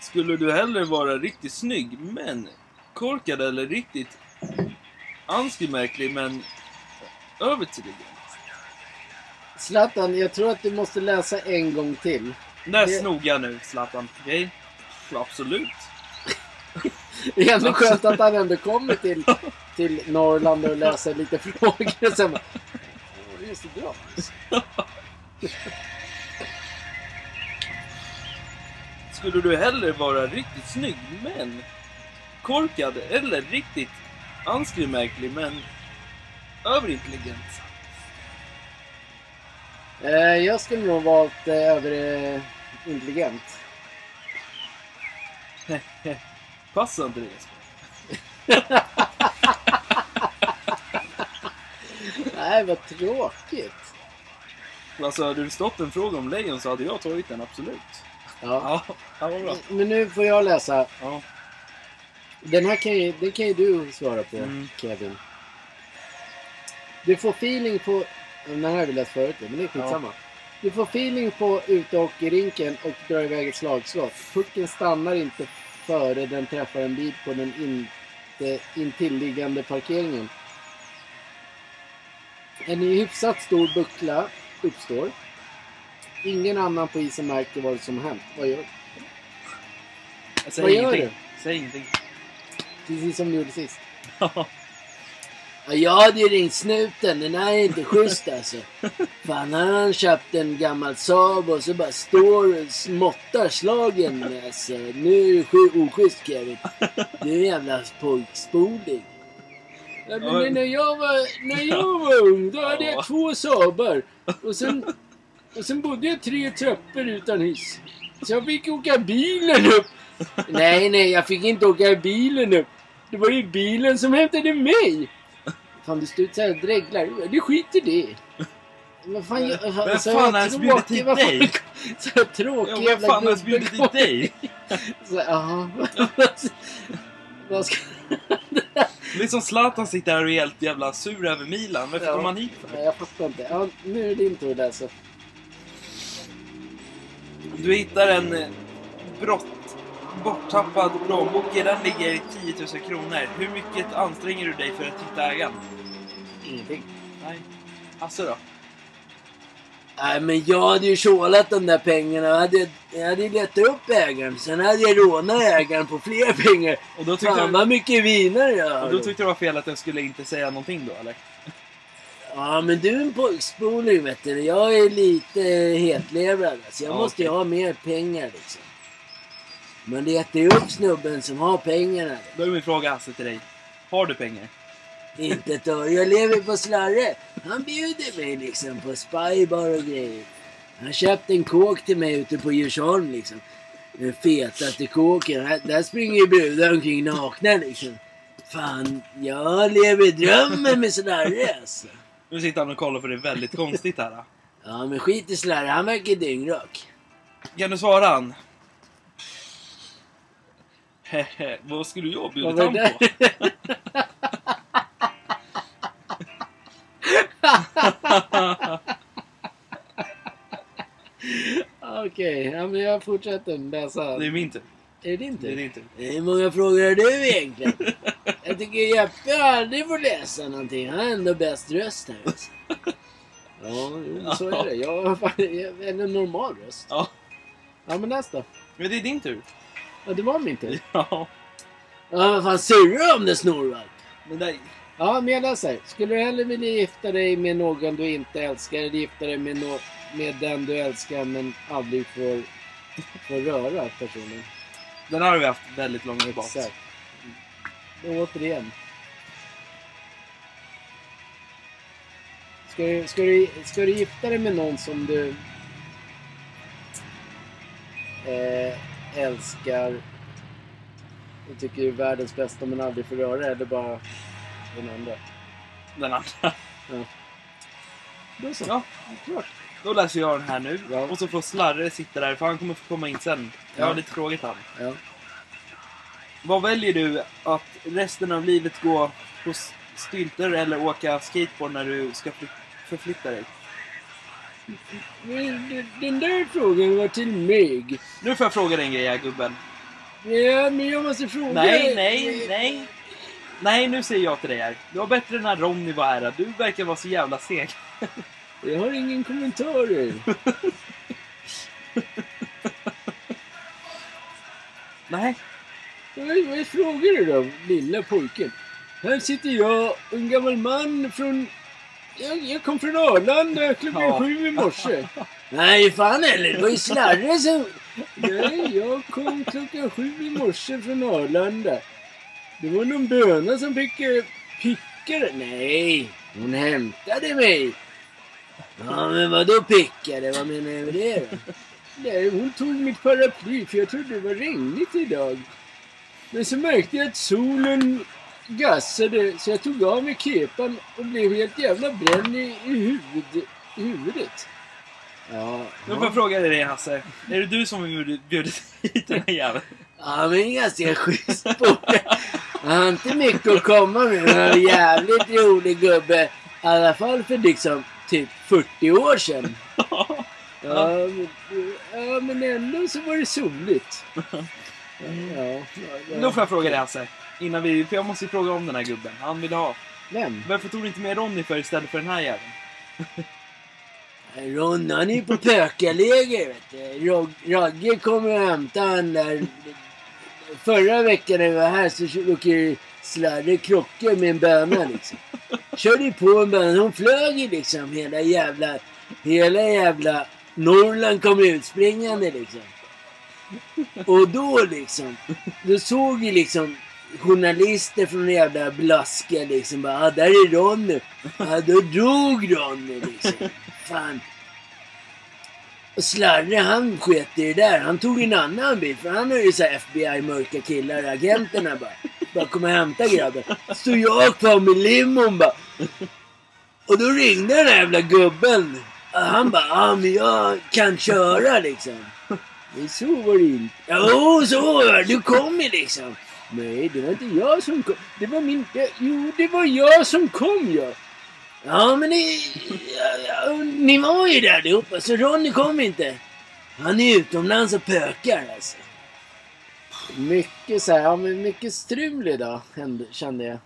S1: Skulle du hellre vara riktigt snygg, men korkad eller riktigt anskemärklig, men övertydlig?
S2: Zlatan, jag tror att du måste läsa en gång till.
S1: Där
S2: Det-
S1: snog jag nu, Zlatan. Okej? Absolut.
S2: Det är ändå skönt att han ändå kommer till, till Norrland och läser lite frågor. Och sen bara, "Åh, det är så bra.
S1: Skulle du hellre vara riktigt snygg, men korkad eller riktigt anskemärklig, men överintelligent?
S2: Eh, Jag skulle nog valt eh, överintelligent.
S1: Passar inte det Jesper?
S2: Nej, vad tråkigt.
S1: Alltså, hade du stått en fråga om lejon så hade jag tagit den, absolut.
S2: Ja. Mm.
S1: Ja, ja vad bra.
S2: Men nu får jag läsa.
S1: Ja.
S2: Den här kan ju, den kan ju du svara på,
S1: Mm.
S2: Kevin. Du får feeling på... Den här har vi läst förut, men det är skitsamma. Du får feeling på utehockeyrinken och drar iväg ett slagskott. Pucken stannar inte före den träffar en bil på den inte intilliggande parkeringen. En hyfsat stor buckla uppstår. Ingen annan på isen märker vad som hänt. Vad gör du?
S1: Jag
S2: Vad gör
S1: Säg ingenting. [LAUGHS]
S2: Precis som du gjorde sist.
S1: Ja.
S2: Ja, jag hade ju ringt snuten. Den här är inte schysst alltså. Fan, här har han köpt en gammal Saab och så bara står och smottar slagen. Alltså, nu är det sj- oschysst Kevin. Du är en jävla pojkspoling. Ja, men det- när, jag var, när jag var ung då hade
S1: Ja.
S2: jag två Saabar. Och sen, och sen bodde jag tre trappor utan hiss. Så jag fick åka bilen upp. Nej, nej, jag fick inte åka bilen upp. Det var ju bilen som hämtade mig. Fan, du står ut såhär och dreglar. Du skiter det. Vad fan, jag,
S1: Vem
S2: så
S1: fan
S2: här
S1: har ens
S2: tråkig-
S1: bjudit hit
S2: vad fan-
S1: dig?
S2: Så här tråkig
S1: Ja, vad
S2: jävla
S1: fan har ens
S2: gubbe
S1: bjudit
S2: kom.
S1: dit dig?
S2: Så, aha. Vad ska...
S1: Liksom Zlatan sitter här och är helt jävla sur över Milan. Varför
S2: Ja.
S1: kom han hit för?
S2: Nej, jag fattar inte. Ja, nu är det din tur att läsa.
S1: Du hittar en eh, brott, borttappad plånbok. I den ligger 10 000 kronor. Hur mycket anstränger du dig för att hitta ägaren?
S2: Ingenting.
S1: Nej. Hasse då?
S2: Nej, men jag hade ju tjålat de där pengarna. Jag hade, jag hade ju letat upp ägaren. Sen hade jag rånat ägaren på fler pengar.
S1: Och då tyckte,
S2: Fan
S1: du,
S2: vad mycket viner jag
S1: och
S2: har.
S1: då tyckte du var fel att jag skulle inte säga någonting då eller?
S2: Ja, men du är en pojkspoling vet du. Jag är lite eh, hetlevrad. Så jag
S1: Ja,
S2: måste ju
S1: okej.
S2: ha mer pengar liksom. Man letar ju upp snubben som har pengarna.
S1: Då är min fråga Hasse till dig. Har du pengar?
S2: Inte ett öre. Jag lever på slarre. Han bjuder mig liksom på spybar och grejer. Han köpte en kåk till mig ute på Djursholm liksom. Den fetaste kåken. Här- Där springer ju brudar omkring nakna liksom. Fan, jag lever i drömmen med slarre alltså.
S1: Nu sitter han och kollar för det är väldigt konstigt här. då.
S2: Ja, men skit i slarre. Han verkar dyngrak.
S1: Kan du svara han? Hehe, [LAUGHS] vad skulle jag bjudit
S2: Vad
S1: han
S2: var
S1: på?
S2: [LAUGHS] Okej, ja, men jag fortsätter läsa.
S1: Det är min tur.
S2: Är det din
S1: Det är din tur.
S2: Hur många frågor har du egentligen? Jag tycker Jeppe aldrig får läsa någonting. Han har ändå bäst röst här. alltså. Ja, jo, så är det. Jag har fan- jag har en normal röst.
S1: Ja,
S2: Ja, men läs då.
S1: men det är din tur.
S2: Ja, det var min tur.
S1: Ja.
S2: Ja, vad fan surrar du om det snorvalp?
S1: Men nej,
S2: Ja, men jag läser. Skulle du hellre vilja gifta dig med någon du inte älskar eller gifta dig med, nå- med den du älskar men aldrig får, får röra personen?
S1: den här har vi haft väldigt långt tillbaka.
S2: Exakt. Och Mm. återigen. Ska du, ska, du, ska du gifta dig med någon som du eh, älskar och tycker är världens bästa men aldrig får röra eller bara den andra?
S1: Den andra.
S2: Då så.
S1: Ja,
S2: klart.
S1: Då läser jag den här nu.
S2: Ja.
S1: Och så får Slarre sitta där, för han kommer få komma in sen. Jag har
S2: Ja.
S1: lite frågor till han.
S2: Ja.
S1: Vad väljer du? Att resten av livet gå på s- stylter eller åka skateboard när du ska fly- förflytta dig?
S2: Men d- Den där frågan var till mig.
S1: Nu får jag fråga dig en grej här, gubben.
S2: Ja, men jag måste fråga...
S1: Nej, nej, nej. Nej, nu säger jag till dig här. Du var bättre när Ronny var här. Du verkar vara så jävla seg.
S2: Jag har ingen kommentarer.
S1: Nej.
S2: Vad vad frågar du då, lilla pojken? Här sitter jag och en gammal man från... Jag, jag kom från Arlanda klockan
S1: Ja.
S2: sju i morse. [LAUGHS] Nej, fan heller. Det var ju Snarre som... Nej, jag kom klockan sju i morse från Arlanda. Det var någon böna som fick eh, pickade. Nej, hon hämtade mig. Ja, men vadå pickade? Vad menar du med det då? Nej, hon tog mitt paraply för jag trodde det var regnigt idag. Men så märkte jag att solen gassade så jag tog av mig kepan och blev helt jävla bränd i, i, huvud, i huvudet. Ja,
S1: Nu får jag fråga dig det, Hasse. Är det du som har bjud- bjudit hit den här jäveln?
S2: Ja, men ganska schysst polare. Han har inte mycket att komma med, men han är en jävligt rolig gubbe. I alla fall för liksom typ 40 år sedan. Ja, men, ja, men ändå så var det soligt. Ja, ja,
S1: Nu får jag fråga dig, Hasse. Innan vi... För jag måste ju fråga om den här gubben. Han vill ha.
S2: Vem?
S1: Varför tog du inte med Ronny för istället för den här jäveln?
S2: Ron, han är på pökarläger, vet du. Rog, Ragge kommer och hämtar han där. Förra veckan när vi var här så kö- åker Slarre krockar med en böna liksom. Körde ju på en böna. Hon flög ju liksom hela jävla... Hela jävla Norrland kom utspringande liksom. Och då liksom, då såg ju liksom journalister från den jävla Blaska liksom bara, ah, där är Ronny. Ja, då drog Ronny liksom. Fan. Och Slarre han sket i det där. Han tog en annan bil. För han är ju så här FBI mörka killar. Agenterna bara. Bara kom och hämta grabben. Så jag kvar med limon bara. Och då ringde den här jävla gubben. Och Han bara, ja men jag kan köra liksom. Men så var det inte. Jo, så var det. Du kom ju liksom. Nej, det var inte jag som kom. Det var min... Jo, det var jag som kom ja. Ja, men ni, ja, ja, ni var ju där allihopa, så Ronny kom inte. Han är utomlands och pökar alltså. Mycket så här, ja, men mycket strul idag, hände- kände jag.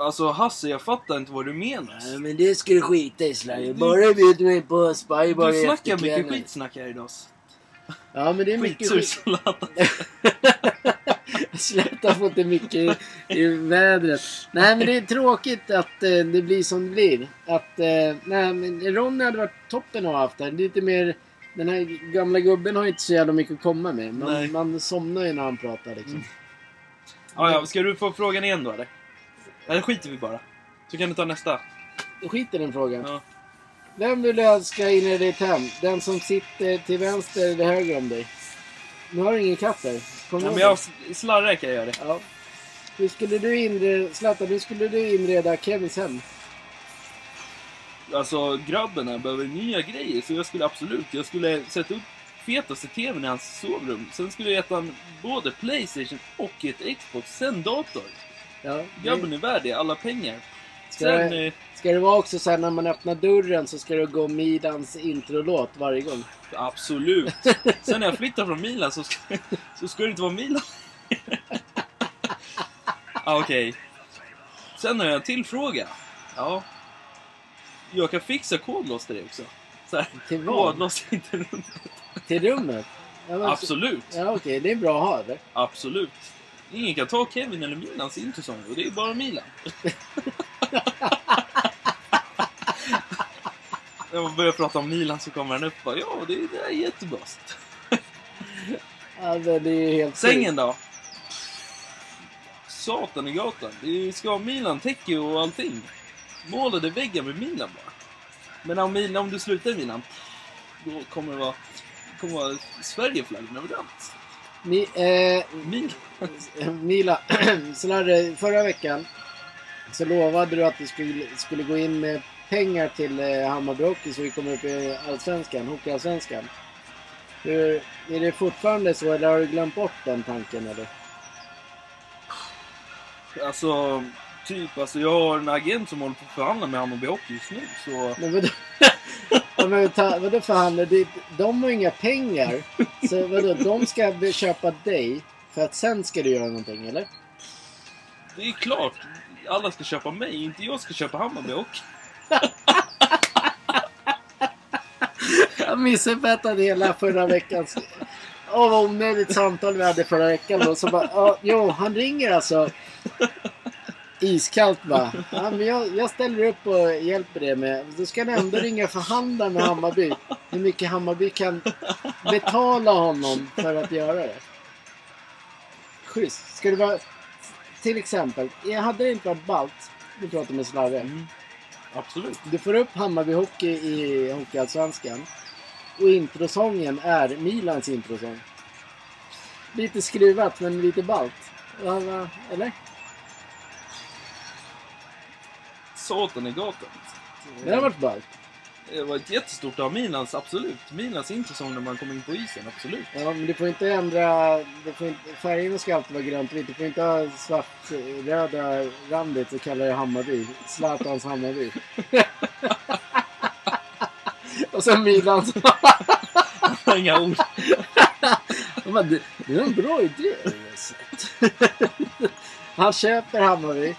S1: Alltså, Hasse, jag fattar inte vad du menar.
S2: Nej, men det ska du skita i Slarry. Bara bjud mig på Spybar
S1: Du snackar mycket skitsnack här idag.
S2: Ja, men det är mycket
S1: Skitsur
S2: skit.
S1: Zlatan.
S2: [LAUGHS] Släta får inte mycket i vädret. Nej, men det är tråkigt att eh, det blir som det blir. Att, eh, nej, men Ronny hade varit toppen att ha haft här. Lite mer... Den här gamla gubben har ju inte så jävla mycket att komma med.
S1: Nej. Mm.
S2: Man, man somnar ju när han pratar liksom.
S1: Ja, ja, ska du få frågan igen då, eller? Eller skiter vi bara. Så kan du ta nästa.
S2: Skit i den frågan.
S1: Ja.
S2: Vem vill du önska in i ditt hem? Den som sitter till vänster eller höger om dig? Nu har du ingen katt där. Kom
S1: Ja,
S2: ihåg
S1: men
S2: det.
S1: jag slarrar kan jag göra det.
S2: Ja. Hur skulle du inreda... Zlatan, hur skulle du inreda Kevins hem?
S1: Alltså, grabben här behöver nya grejer, så jag skulle absolut... Jag skulle sätta upp fetaste TVn i hans sovrum. Sen skulle jag gett han både Playstation och ett Xbox, sen dator.
S2: Ja.
S1: Grabben är värd det, alla pengar.
S2: Ska
S1: Sen...
S2: jag-
S1: eh,
S2: Ska det vara också så här när man öppnar dörren så ska det gå Midans introlåt varje gång?
S1: Absolut.
S2: [LAUGHS]
S1: Sen när jag flyttar från Milan så ska, så ska det inte vara Milan. [LAUGHS] ah, Okej. Sen har jag en till fråga. Ja. Jag kan fixa kodlås till dig också. Så här,
S2: Till vad?
S1: kodlås till internet.
S2: Till rummet? Ja, men-
S1: Absolut.
S2: Ja, okej. Det är bra att ha det.
S1: Absolut. Ingen kan ta Kevin eller Milans introsång och det är bara Milan. När man börjar prata om Milan så kommer han upp och bara, ja, det, det är jättebra.
S2: Alltså, det är ju helt
S1: Sängen då? Satan i gatan. Det ska ha Milan, täcke och allting. Målade väggar med Milan bara. Men om, Milan, om du slutar i Milan, då kommer det vara, kommer vara Sverigeflaggorna överallt.
S2: sjukt. Mi, eh,
S1: Milan.
S2: Mila, [CLEARS THROAT] Slarre, förra veckan så lovade du att du skulle, skulle gå in med pengar till eh, Hammarby Hockey så vi kommer upp i Allsvenskan, Hockeyallsvenskan. Hur, är det fortfarande så eller har du glömt bort den tanken eller?
S1: Alltså,
S2: [LAUGHS]
S1: typ, alltså jag har en agent som håller på att förhandla med Hammarby Hockey just nu, så...
S2: Men vadå? Ja, men ta, vadå fan, det, de har inga pengar. Så vadå, de ska be- köpa dig för att sen ska du göra någonting, eller?
S1: Det är klart. Alla ska köpa mig, inte jag ska köpa Hammarby och...
S2: Jag missuppfattade hela förra veckans... Åh, vad onödigt samtal vi hade förra veckan då. Så bara, ja, jo, han ringer alltså. Iskallt bara. Ja, men jag, jag ställer upp och hjälper dig med. Då ska han ändå ringa och förhandla med Hammarby. Hur mycket Hammarby kan betala honom för att göra det. Schysst. Ska det vara... Till exempel, jag hade det inte varit ballt. Du pratar med Slarre.
S1: Mm. Absolut.
S2: Du får upp Hammarby Hockey i Hockeyallsvenskan. Och introsången är Milans introsång. Lite skruvat men lite ballt. Va, va, Eller?
S1: Satan i gatan.
S2: Det har varit ballt.
S1: Det var ett jättestort av Milans, absolut. Milans intressant när man kommer in på isen, absolut.
S2: Ja, men du får inte ändra... Du får inte, färgerna ska alltid vara grönt och vitt. Du får inte ha svart-röda randigt så kallar det Hammarby. Zlatans Hammarby. och sen Milans.
S1: [LAUGHS] Inga ord.
S2: Jag bara, det, det är en bra idé.
S1: [LAUGHS]
S2: Han köper Hammarby.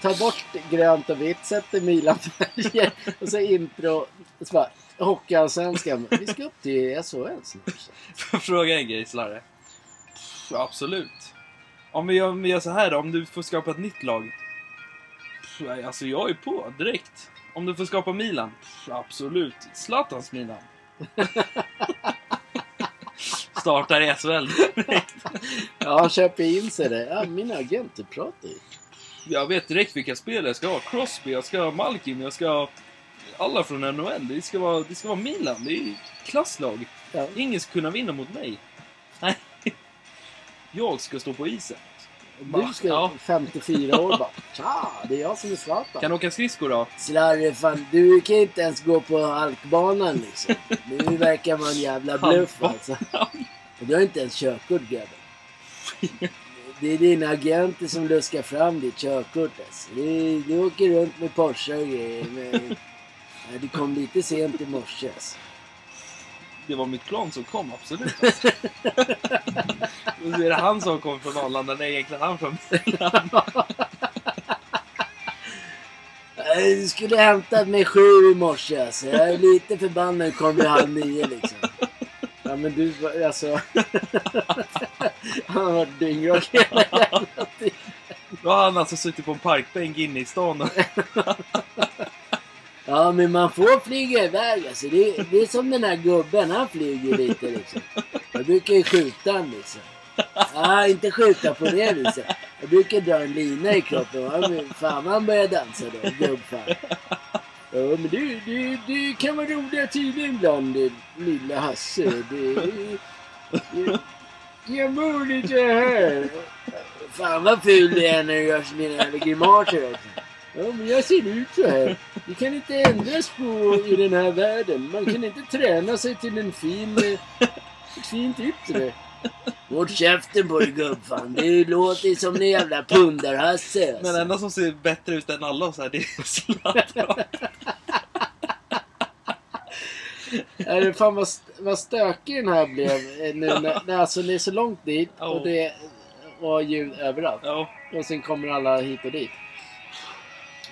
S2: Tar bort grönt och vitt, sätter Milanfärger och så intro. Och så bara, Hockeyallsvenskan. Vi ska upp till SHL snart.
S1: Får jag [LAUGHS] fråga en grej, Slarre? Pff, Absolut. Om vi, gör, om vi gör så här då, om du får skapa ett nytt lag? Pff, nej, Alltså, jag är på direkt. Om du får skapa Milan? Pff, Absolut. Zlatans Milan. [LAUGHS] Startar i SHL.
S2: Ja, han köper in sig det. Ja, min agent, du pratar ju.
S1: Jag vet direkt vilka spelare jag ska ha. Crosby, jag ska ha Malkin, jag ska ha alla från NHL. Det ska vara, det ska vara Milan. Det är ju ett klasslag.
S2: Ja.
S1: Ingen ska kunna vinna mot mig. Nej. Jag ska stå på isen.
S2: Du ska
S1: Ja.
S2: 54 år bara. Tja, det är jag som är Zlatan.
S1: Kan åka skridskor då?
S2: Slarre, fan du kan ju inte ens gå på halkbanan liksom. Nu verkar man en jävla bluff alltså. Och du har inte ens körkort grabben. Det är dina agenter som luskar fram ditt körkort alltså. Du, du åker runt med Porsche och grejer. Men... Ja, du kom lite sent i morse alltså.
S1: Det var mitt plan som kom, absolut. Alltså. Och så är det han som kom från Arlanda, när egentligen han från Milan.
S2: Ja, Du skulle hämtat mig sju i morse alltså. Jag är lite förbannad. Kom vid halv nio liksom. Ja men du var- alltså. [LAUGHS] Han har varit dyngrak [LAUGHS] hela jävla tiden.
S1: Då har han alltså suttit på en parkbänk inne i stan. och-
S2: Ja, men man får flyga iväg alltså. Det, det är som den här gubben, han flyger lite liksom. Jag brukar ju skjuta han liksom. Ja, inte skjuta på det viset. Jag brukar dra en lina i kroppen. Ja, men fan, han börjar dansa då, gubbfan. Ja, men du, du, du kan vara roliga tider ibland, du lilla Hasse. Du, du, du, jag bor lite här. Fan vad ful du är när du gör dina jävla grimaser. också. Ja, men jag ser ut så här. Det kan inte ändras på i den här världen. Man kan inte träna sig till en fin, eh, ett fint yttre. Håll käften på dig gubbfan. Du låter som en jävla pundarhasse.
S1: Men den
S2: Alltså.
S1: enda som ser bättre ut än alla så här, det är Zlatan.
S2: Är det fan vad, st- vad stökig den här blev. eh, Nu när, när, alltså, det är så långt dit
S1: Oh.
S2: och det var ljud överallt.
S1: Ja,
S2: Och sen kommer alla hit och dit.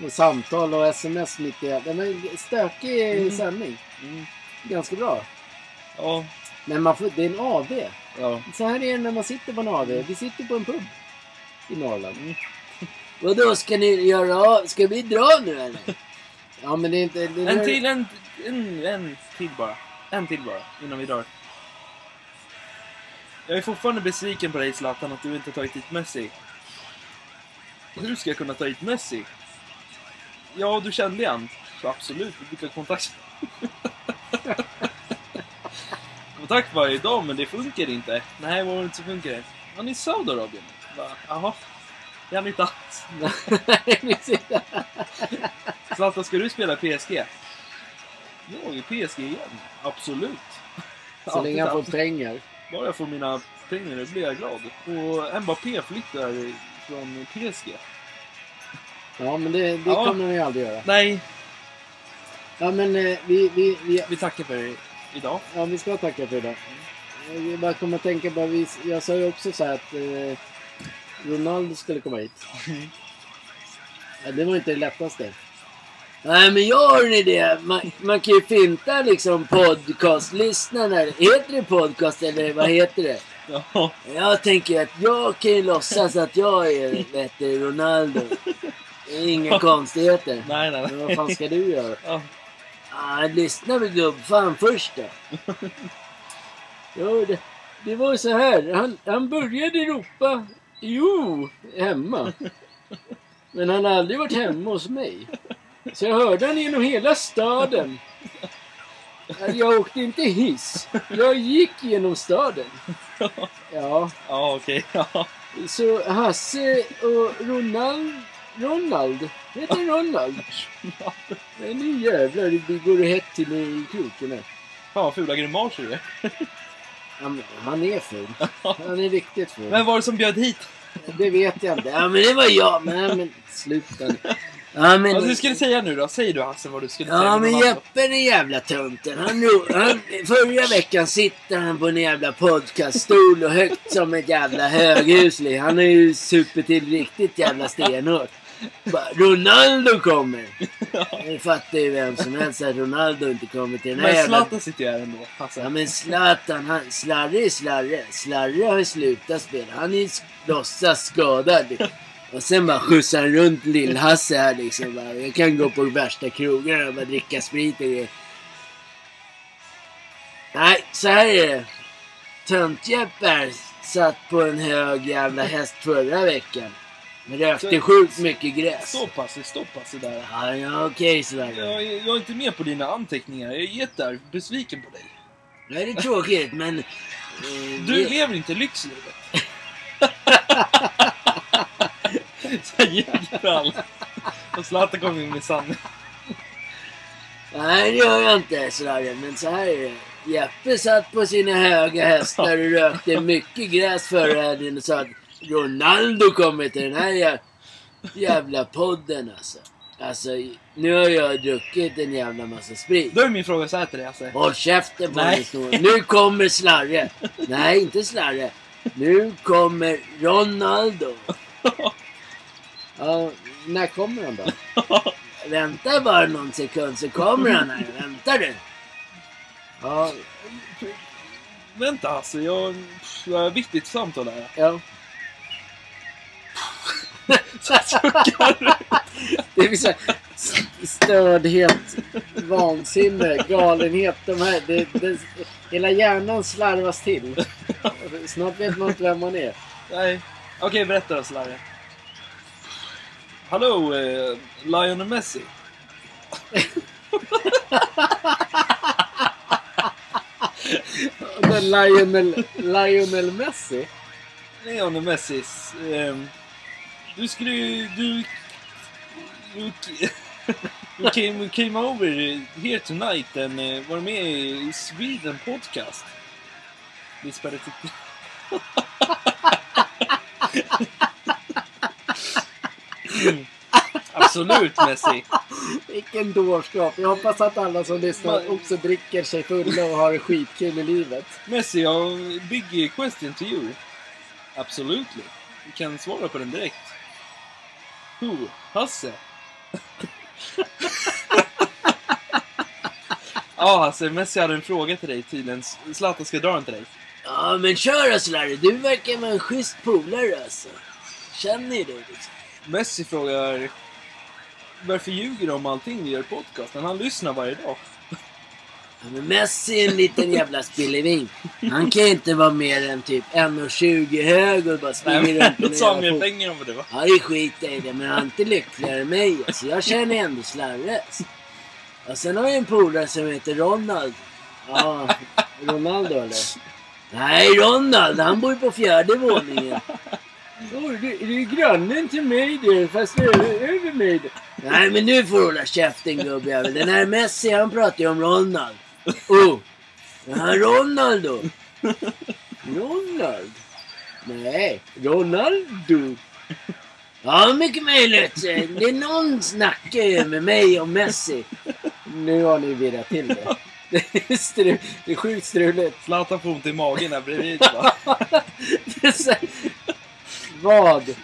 S2: Och samtal och sms mitt i. Den är en stökig
S1: Mm.
S2: sändning.
S1: Mm.
S2: Ganska bra.
S1: ja,
S2: Men man får, det är en AV.
S1: ja.
S2: Så här är det när man sitter på en AV. Vi sitter på en pub i Norrland.
S1: Mm.
S2: [LAUGHS] Vadå, ska ni göra av? Ska vi dra
S1: [LAUGHS]
S2: nu eller? ja men det är inte... Det är
S1: En
S2: [LAUGHS]
S1: till, en, en, en till bara. En till bara, innan vi drar. Jag är fortfarande besviken på dig Zlatan, att du inte tagit hit Messi. Hur ska jag kunna ta hit Messi? Ja, du kände han. Absolut, vi brukar ha [LAUGHS] kontakt. kontakt varje dag, men det funkar inte. Nej, vad var det inte som funkar? Han är i Saudiarabien. Va? Jaha. Det är han inte alls.
S2: Nej, precis.
S1: Zlatan, ska du spela PSG? Jag är PSG igen. Absolut.
S2: Så länge han
S1: Alltid,
S2: får pengar.
S1: Bara jag får mina pengar då blir jag glad. Och Mbappé flyttar från PSG.
S2: Ja men det, det
S1: Ja.
S2: kommer han ju aldrig göra.
S1: Nej.
S2: Ja, men eh, vi, vi, vi,
S1: Vi tackar för i- idag.
S2: ja, vi ska tacka för idag. Jag bara kommer att tänka på, vi, jag sa ju också så här att eh, Ronaldo skulle komma hit. Ja, det var inte det lättaste. Nej, men jag har en idé. Man, man kan ju finta liksom podcastlyssnarna. Heter det podcast eller vad heter det?
S1: Ja.
S2: Jag tänker att jag kan ju låtsas att jag är vet du, Ronaldo. Det är inga
S1: [LAUGHS]
S2: konstigheter.
S1: [LAUGHS] Nej, nej,
S2: Men
S1: nej.
S2: vad fan ska du göra?
S1: Ja.
S2: Ah, lyssna väl gubbfan först då. Jo, det, det var ju så här. Han, han började ropa Jo, hemma. Men han har aldrig varit hemma hos mig. Så jag hörde han genom hela staden. Jag åkte inte hiss. Jag gick genom staden. Ja,
S1: Ja, okej. [LAUGHS] Ja.
S2: så Hasse och Ronald... Ronald? Heter han Ronald? Nej, nu jävlar det går det hett till i kroken här.
S1: Fan vad fula grimaser du är.
S2: Han, han är ful. Han är riktigt ful.
S1: Vem var det som bjöd hit?
S2: Det vet jag inte. Ja, men det var jag. Men, men sluta nu. Ja, men...
S1: Alltså, du skulle säga nu då. Säg du Hasse vad du skulle säga.
S2: Ja
S1: om
S2: men
S1: Ronaldo.
S2: Jeppe den jävla tönten. Han, ro- han, förra veckan sitter han på en jävla podcaststol och högt som ett jävla höghus. Han har ju supit till riktigt jävla stenhårt. Bara, Ronaldo
S1: [LAUGHS]
S2: kommer! Nu fattar ju vem som helst att Ronaldo inte kommer till den här
S1: Men
S2: jävla...
S1: Zlatan sitter ju här ändå. Hasse.
S2: Ja men Zlatan, han, Slarre är Slarre. Slarre har ju slutat spela. Han är ju sk- låtsas skadad. Och sen bara skjutsar han runt Lill-Hasse här liksom. Bara, jag kan gå på värsta krogarna och bara dricka sprit och grejer. Nej, så här är det. Tönt-Jeppe här satt på en hög jävla häst förra veckan. Men rökte sjukt mycket gräs.
S1: Så pass, så pass där.
S2: Ja, ja okej Slarre.
S1: Jag, jag är inte med på dina anteckningar. Jag är jättebesviken på dig.
S2: Nej, det är tråkigt men... eh,
S1: Du lever inte lyxlivet. [LAUGHS] Så jag ljuger för alla. Och Zlatan kom in med sanning.
S2: Nej, det gör jag inte sådär. Men så här är det. Jeppe satt på sina höga hästar och rökte mycket gräs förra helgen och sa att Ronaldo kommer till den här jä- jävla podden alltså. Alltså, nu har jag druckit en jävla massa sprit.
S1: Då är min fråga så här till dig Hasse.
S2: Håll käften på
S1: Nej.
S2: dig snor. Nu kommer Slarre. Nej, inte Slarre. Nu kommer Ronaldo. Ja, när kommer han då? Vänta bara någon sekund så kommer han här. Vänta du. Ja,
S1: Vänta Hasse, jag, pff, jag har ett viktigt samtal här.
S2: [LAUGHS] ja.
S1: Så jag suckar du.
S2: Det är så här st- stördhet, vansinne, galenhet. De här, det, det, hela hjärnan slarvas till. Snart vet man inte vem man är.
S1: Nej. Okej, berätta då Slarre. Hallå, eh, Lionel Messi.
S2: Men Lionel, Lionel Messi?
S1: Lionel Messi. ehm, du skulle ju... Du... You, you, came, you came over here tonight and eh, var med i Sweden podcast. Vi spelade typ- till... [LAUGHS] Mm. Absolut Messi.
S2: Vilken dårskap. Jag hoppas att alla som lyssnar också dricker sig fulla och har skitkul i livet.
S1: Messi, jag big question to you. Absolutely. Du kan svara på den direkt. Who? Hasse? Ja, [LAUGHS] Hasse, Messi hade en fråga till dig tydligen. Zlatan ska dra den till dig.
S2: Ja, men kör alltså Larry. Du verkar vara en schysst polare alltså. Känner ju dig liksom.
S1: Messi frågar varför ljuger du om allting vi gör i podcasten? Han lyssnar varje dag.
S2: Ja, men Messi är en liten jävla spillevin. Han kan ju inte vara mer än typ 1,20 hög och bara springa
S1: Nej,
S2: runt
S1: men
S2: med
S1: då sa [LAUGHS] han
S2: en jävla
S1: mer
S2: fot.
S1: pengar än vad det var.
S2: Ja, det skiter jag i det, men han är inte lyckligare än mig. Alltså, jag känner ändå Slarre. alltså. Och sen har jag en polare som heter Ronald. Ja, Ronaldo eller? Nej, Ronald. Han bor på fjärde våningen. Oh, du, du är grannen till mig du, fast du är över mig du. Nej, men nu får du hålla käften gubbjävel. Den här Messi, han pratar ju om Ronald. Oh! Den här Ronald då? Ronald? Nej, Ronaldo. Ja, mycket möjligt. Det är någon snackar ju med mig om Messi. Nu har ni virrat till det. Det är, stru, det är sjukt struligt.
S1: Zlatan får ont i magen här bredvid [LAUGHS] va?
S2: Det är så här- Vad?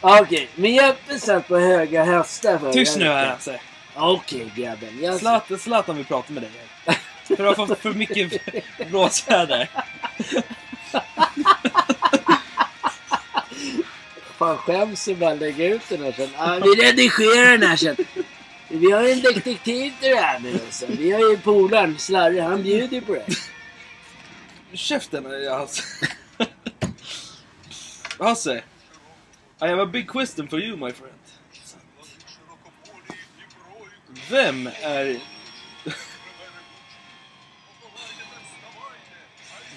S2: Okej, men jag satt på höga hästar förra
S1: Tyst nu här
S2: veckan.
S1: alltså.
S2: Okej grabben. Jag...
S1: Zlatan, Zlatan vill prata med dig. här. För du har fått för mycket blåsväder.
S2: Fan skäms ibland lägga ut den här sen. Ah, vi redigerar den här sen. Vi har ju en detektiv till det här nu alltså. Vi har ju polaren Slarre, han bjuder på det. eh,
S1: Käften alltså. [LAUGHS] Hasse. I have a big question for you my friend. Vem är...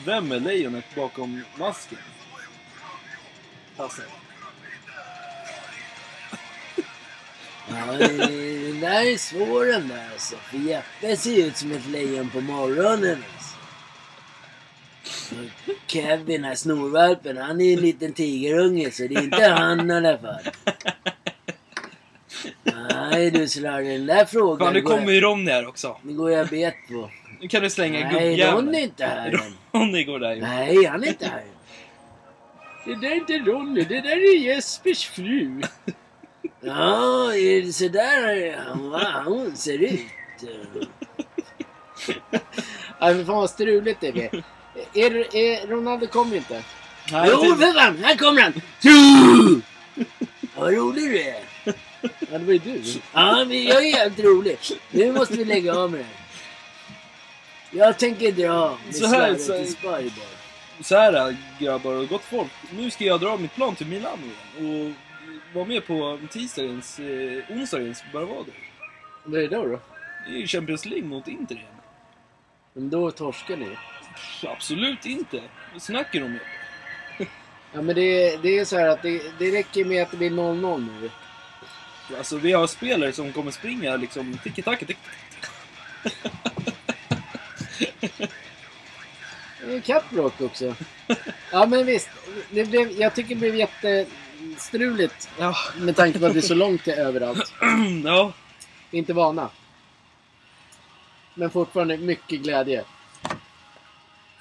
S1: Vem är lejonet bakom masken? Hasse.
S2: Ja, den där är svår den där alltså. För Jeppe ser ju ut som ett lejon på morgonen alltså. Och Kevin, den här snorvalpen, han är ju en liten tigerunge så det är inte han i alla fall. Nej du Slarre, den där frågan
S1: Fan, nu
S2: går jag-
S1: kommer ju Ronny här också.
S2: den går jag bet på.
S1: Nu kan du slänga
S2: Nej, Ron är
S1: gubbjäveln.
S2: inte här än.
S1: Ronny går där ju.
S2: Nej, han är inte här. Det där är inte Ronny, det där är Jespers fru. Ja, är det så där han, va, hon ser ut? Nej, men fan vad struligt det blir. Är, är, Ronaldo kommer inte.
S1: Nej,
S2: jo,
S1: det-
S2: för fan! Här kommer han! Tju! Vad rolig du är!
S3: Ja, det var ju du.
S2: Ja, men jag är jävligt rolig. Nu måste vi lägga av med det här. Jag tänker dra med
S1: Så här,
S2: Sverige
S1: så-
S2: till Spybar.
S1: Så här grabbar och gott folk. Nu ska jag dra mitt plan till Milano igen. Och vara med på tisdagens, eh, onsdagens Bravado.
S2: Vad är det då? då?
S1: Det är ju Champions League mot Inter igen.
S2: Men då torskar ni.
S1: Pff, Absolut inte. Vad snackar du om?
S2: Ja men det, det är så här att det, det räcker med att det blir 0-0 nu.
S1: Alltså vi har spelare som kommer springa liksom tiki-taka, tiki
S2: Det är kappbråk också. Ja men visst. Det blev, jag tycker det blev jättestruligt
S1: Ja.
S2: med tanke på att det är så långt till överallt.
S1: Mm, ja.
S2: Vi är Inte vana. Men fortfarande mycket glädje.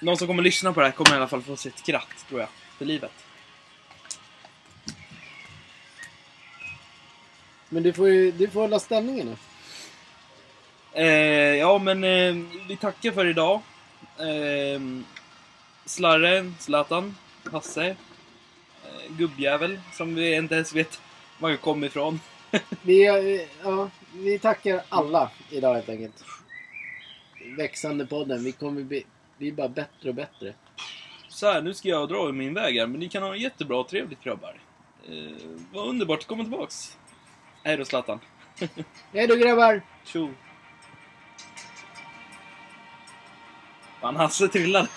S1: Någon som kommer lyssna på det här kommer i alla fall få sitt skratt, tror jag. För livet.
S2: Men du får ju du får hålla ställningen nu.
S1: Eh, ja, men eh, vi tackar för idag. Eh, Slarre, Zlatan, Hasse, eh, gubbjävel som vi inte ens vet var han kom ifrån.
S2: Vi, eh, ja, vi tackar alla idag helt enkelt. Växande podden. Vi kommer bli, bli bara bättre och bättre.
S1: Så här, nu ska jag dra i min väg här, men ni kan ha en jättebra och trevligt grabbar. Eh, vad underbart, komma tillbaks. Hej då Zlatan.
S2: Hej då grabbar!
S1: Tjo. Fan, Hasse trillade.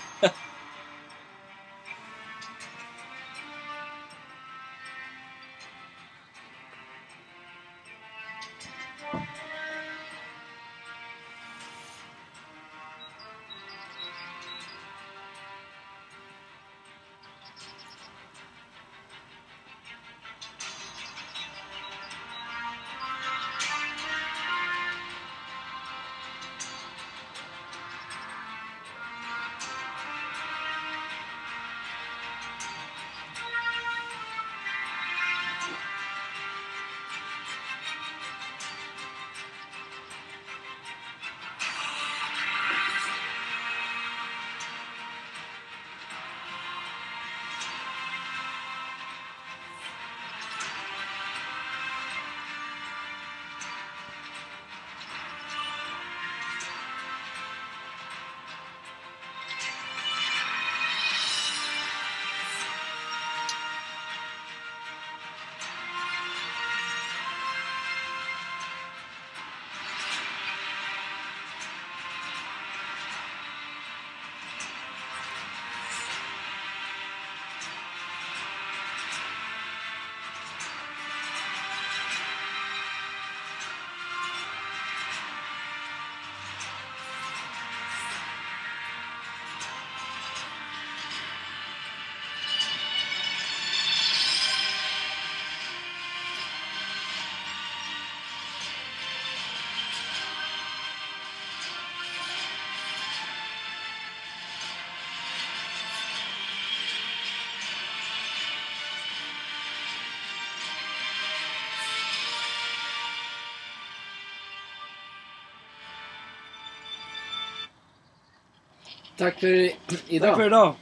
S2: Tack för i-
S1: Tack för
S2: idag.
S1: idag.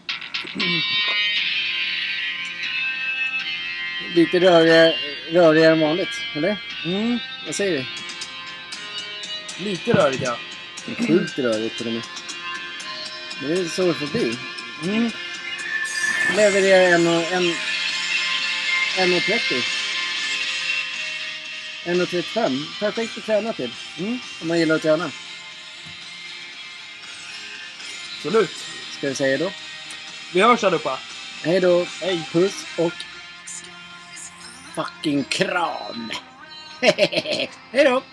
S2: Lite rörigare, rörigare än vanligt, eller?
S1: Mm,
S2: Vad säger du?
S1: lite röriga.
S2: Sjukt rörigt till och med. Men det är så förbi.
S1: Mm.
S2: Levererar en och... En, en och 30. En och 35. Perfekt att träna till.
S1: Mm.
S2: Om man gillar att träna.
S1: Absolut.
S2: Ska vi säga då?
S1: Vi hörs allihopa.
S2: Hej då!
S1: Hej.
S2: Puss och fucking kram! [LAUGHS] Hej då!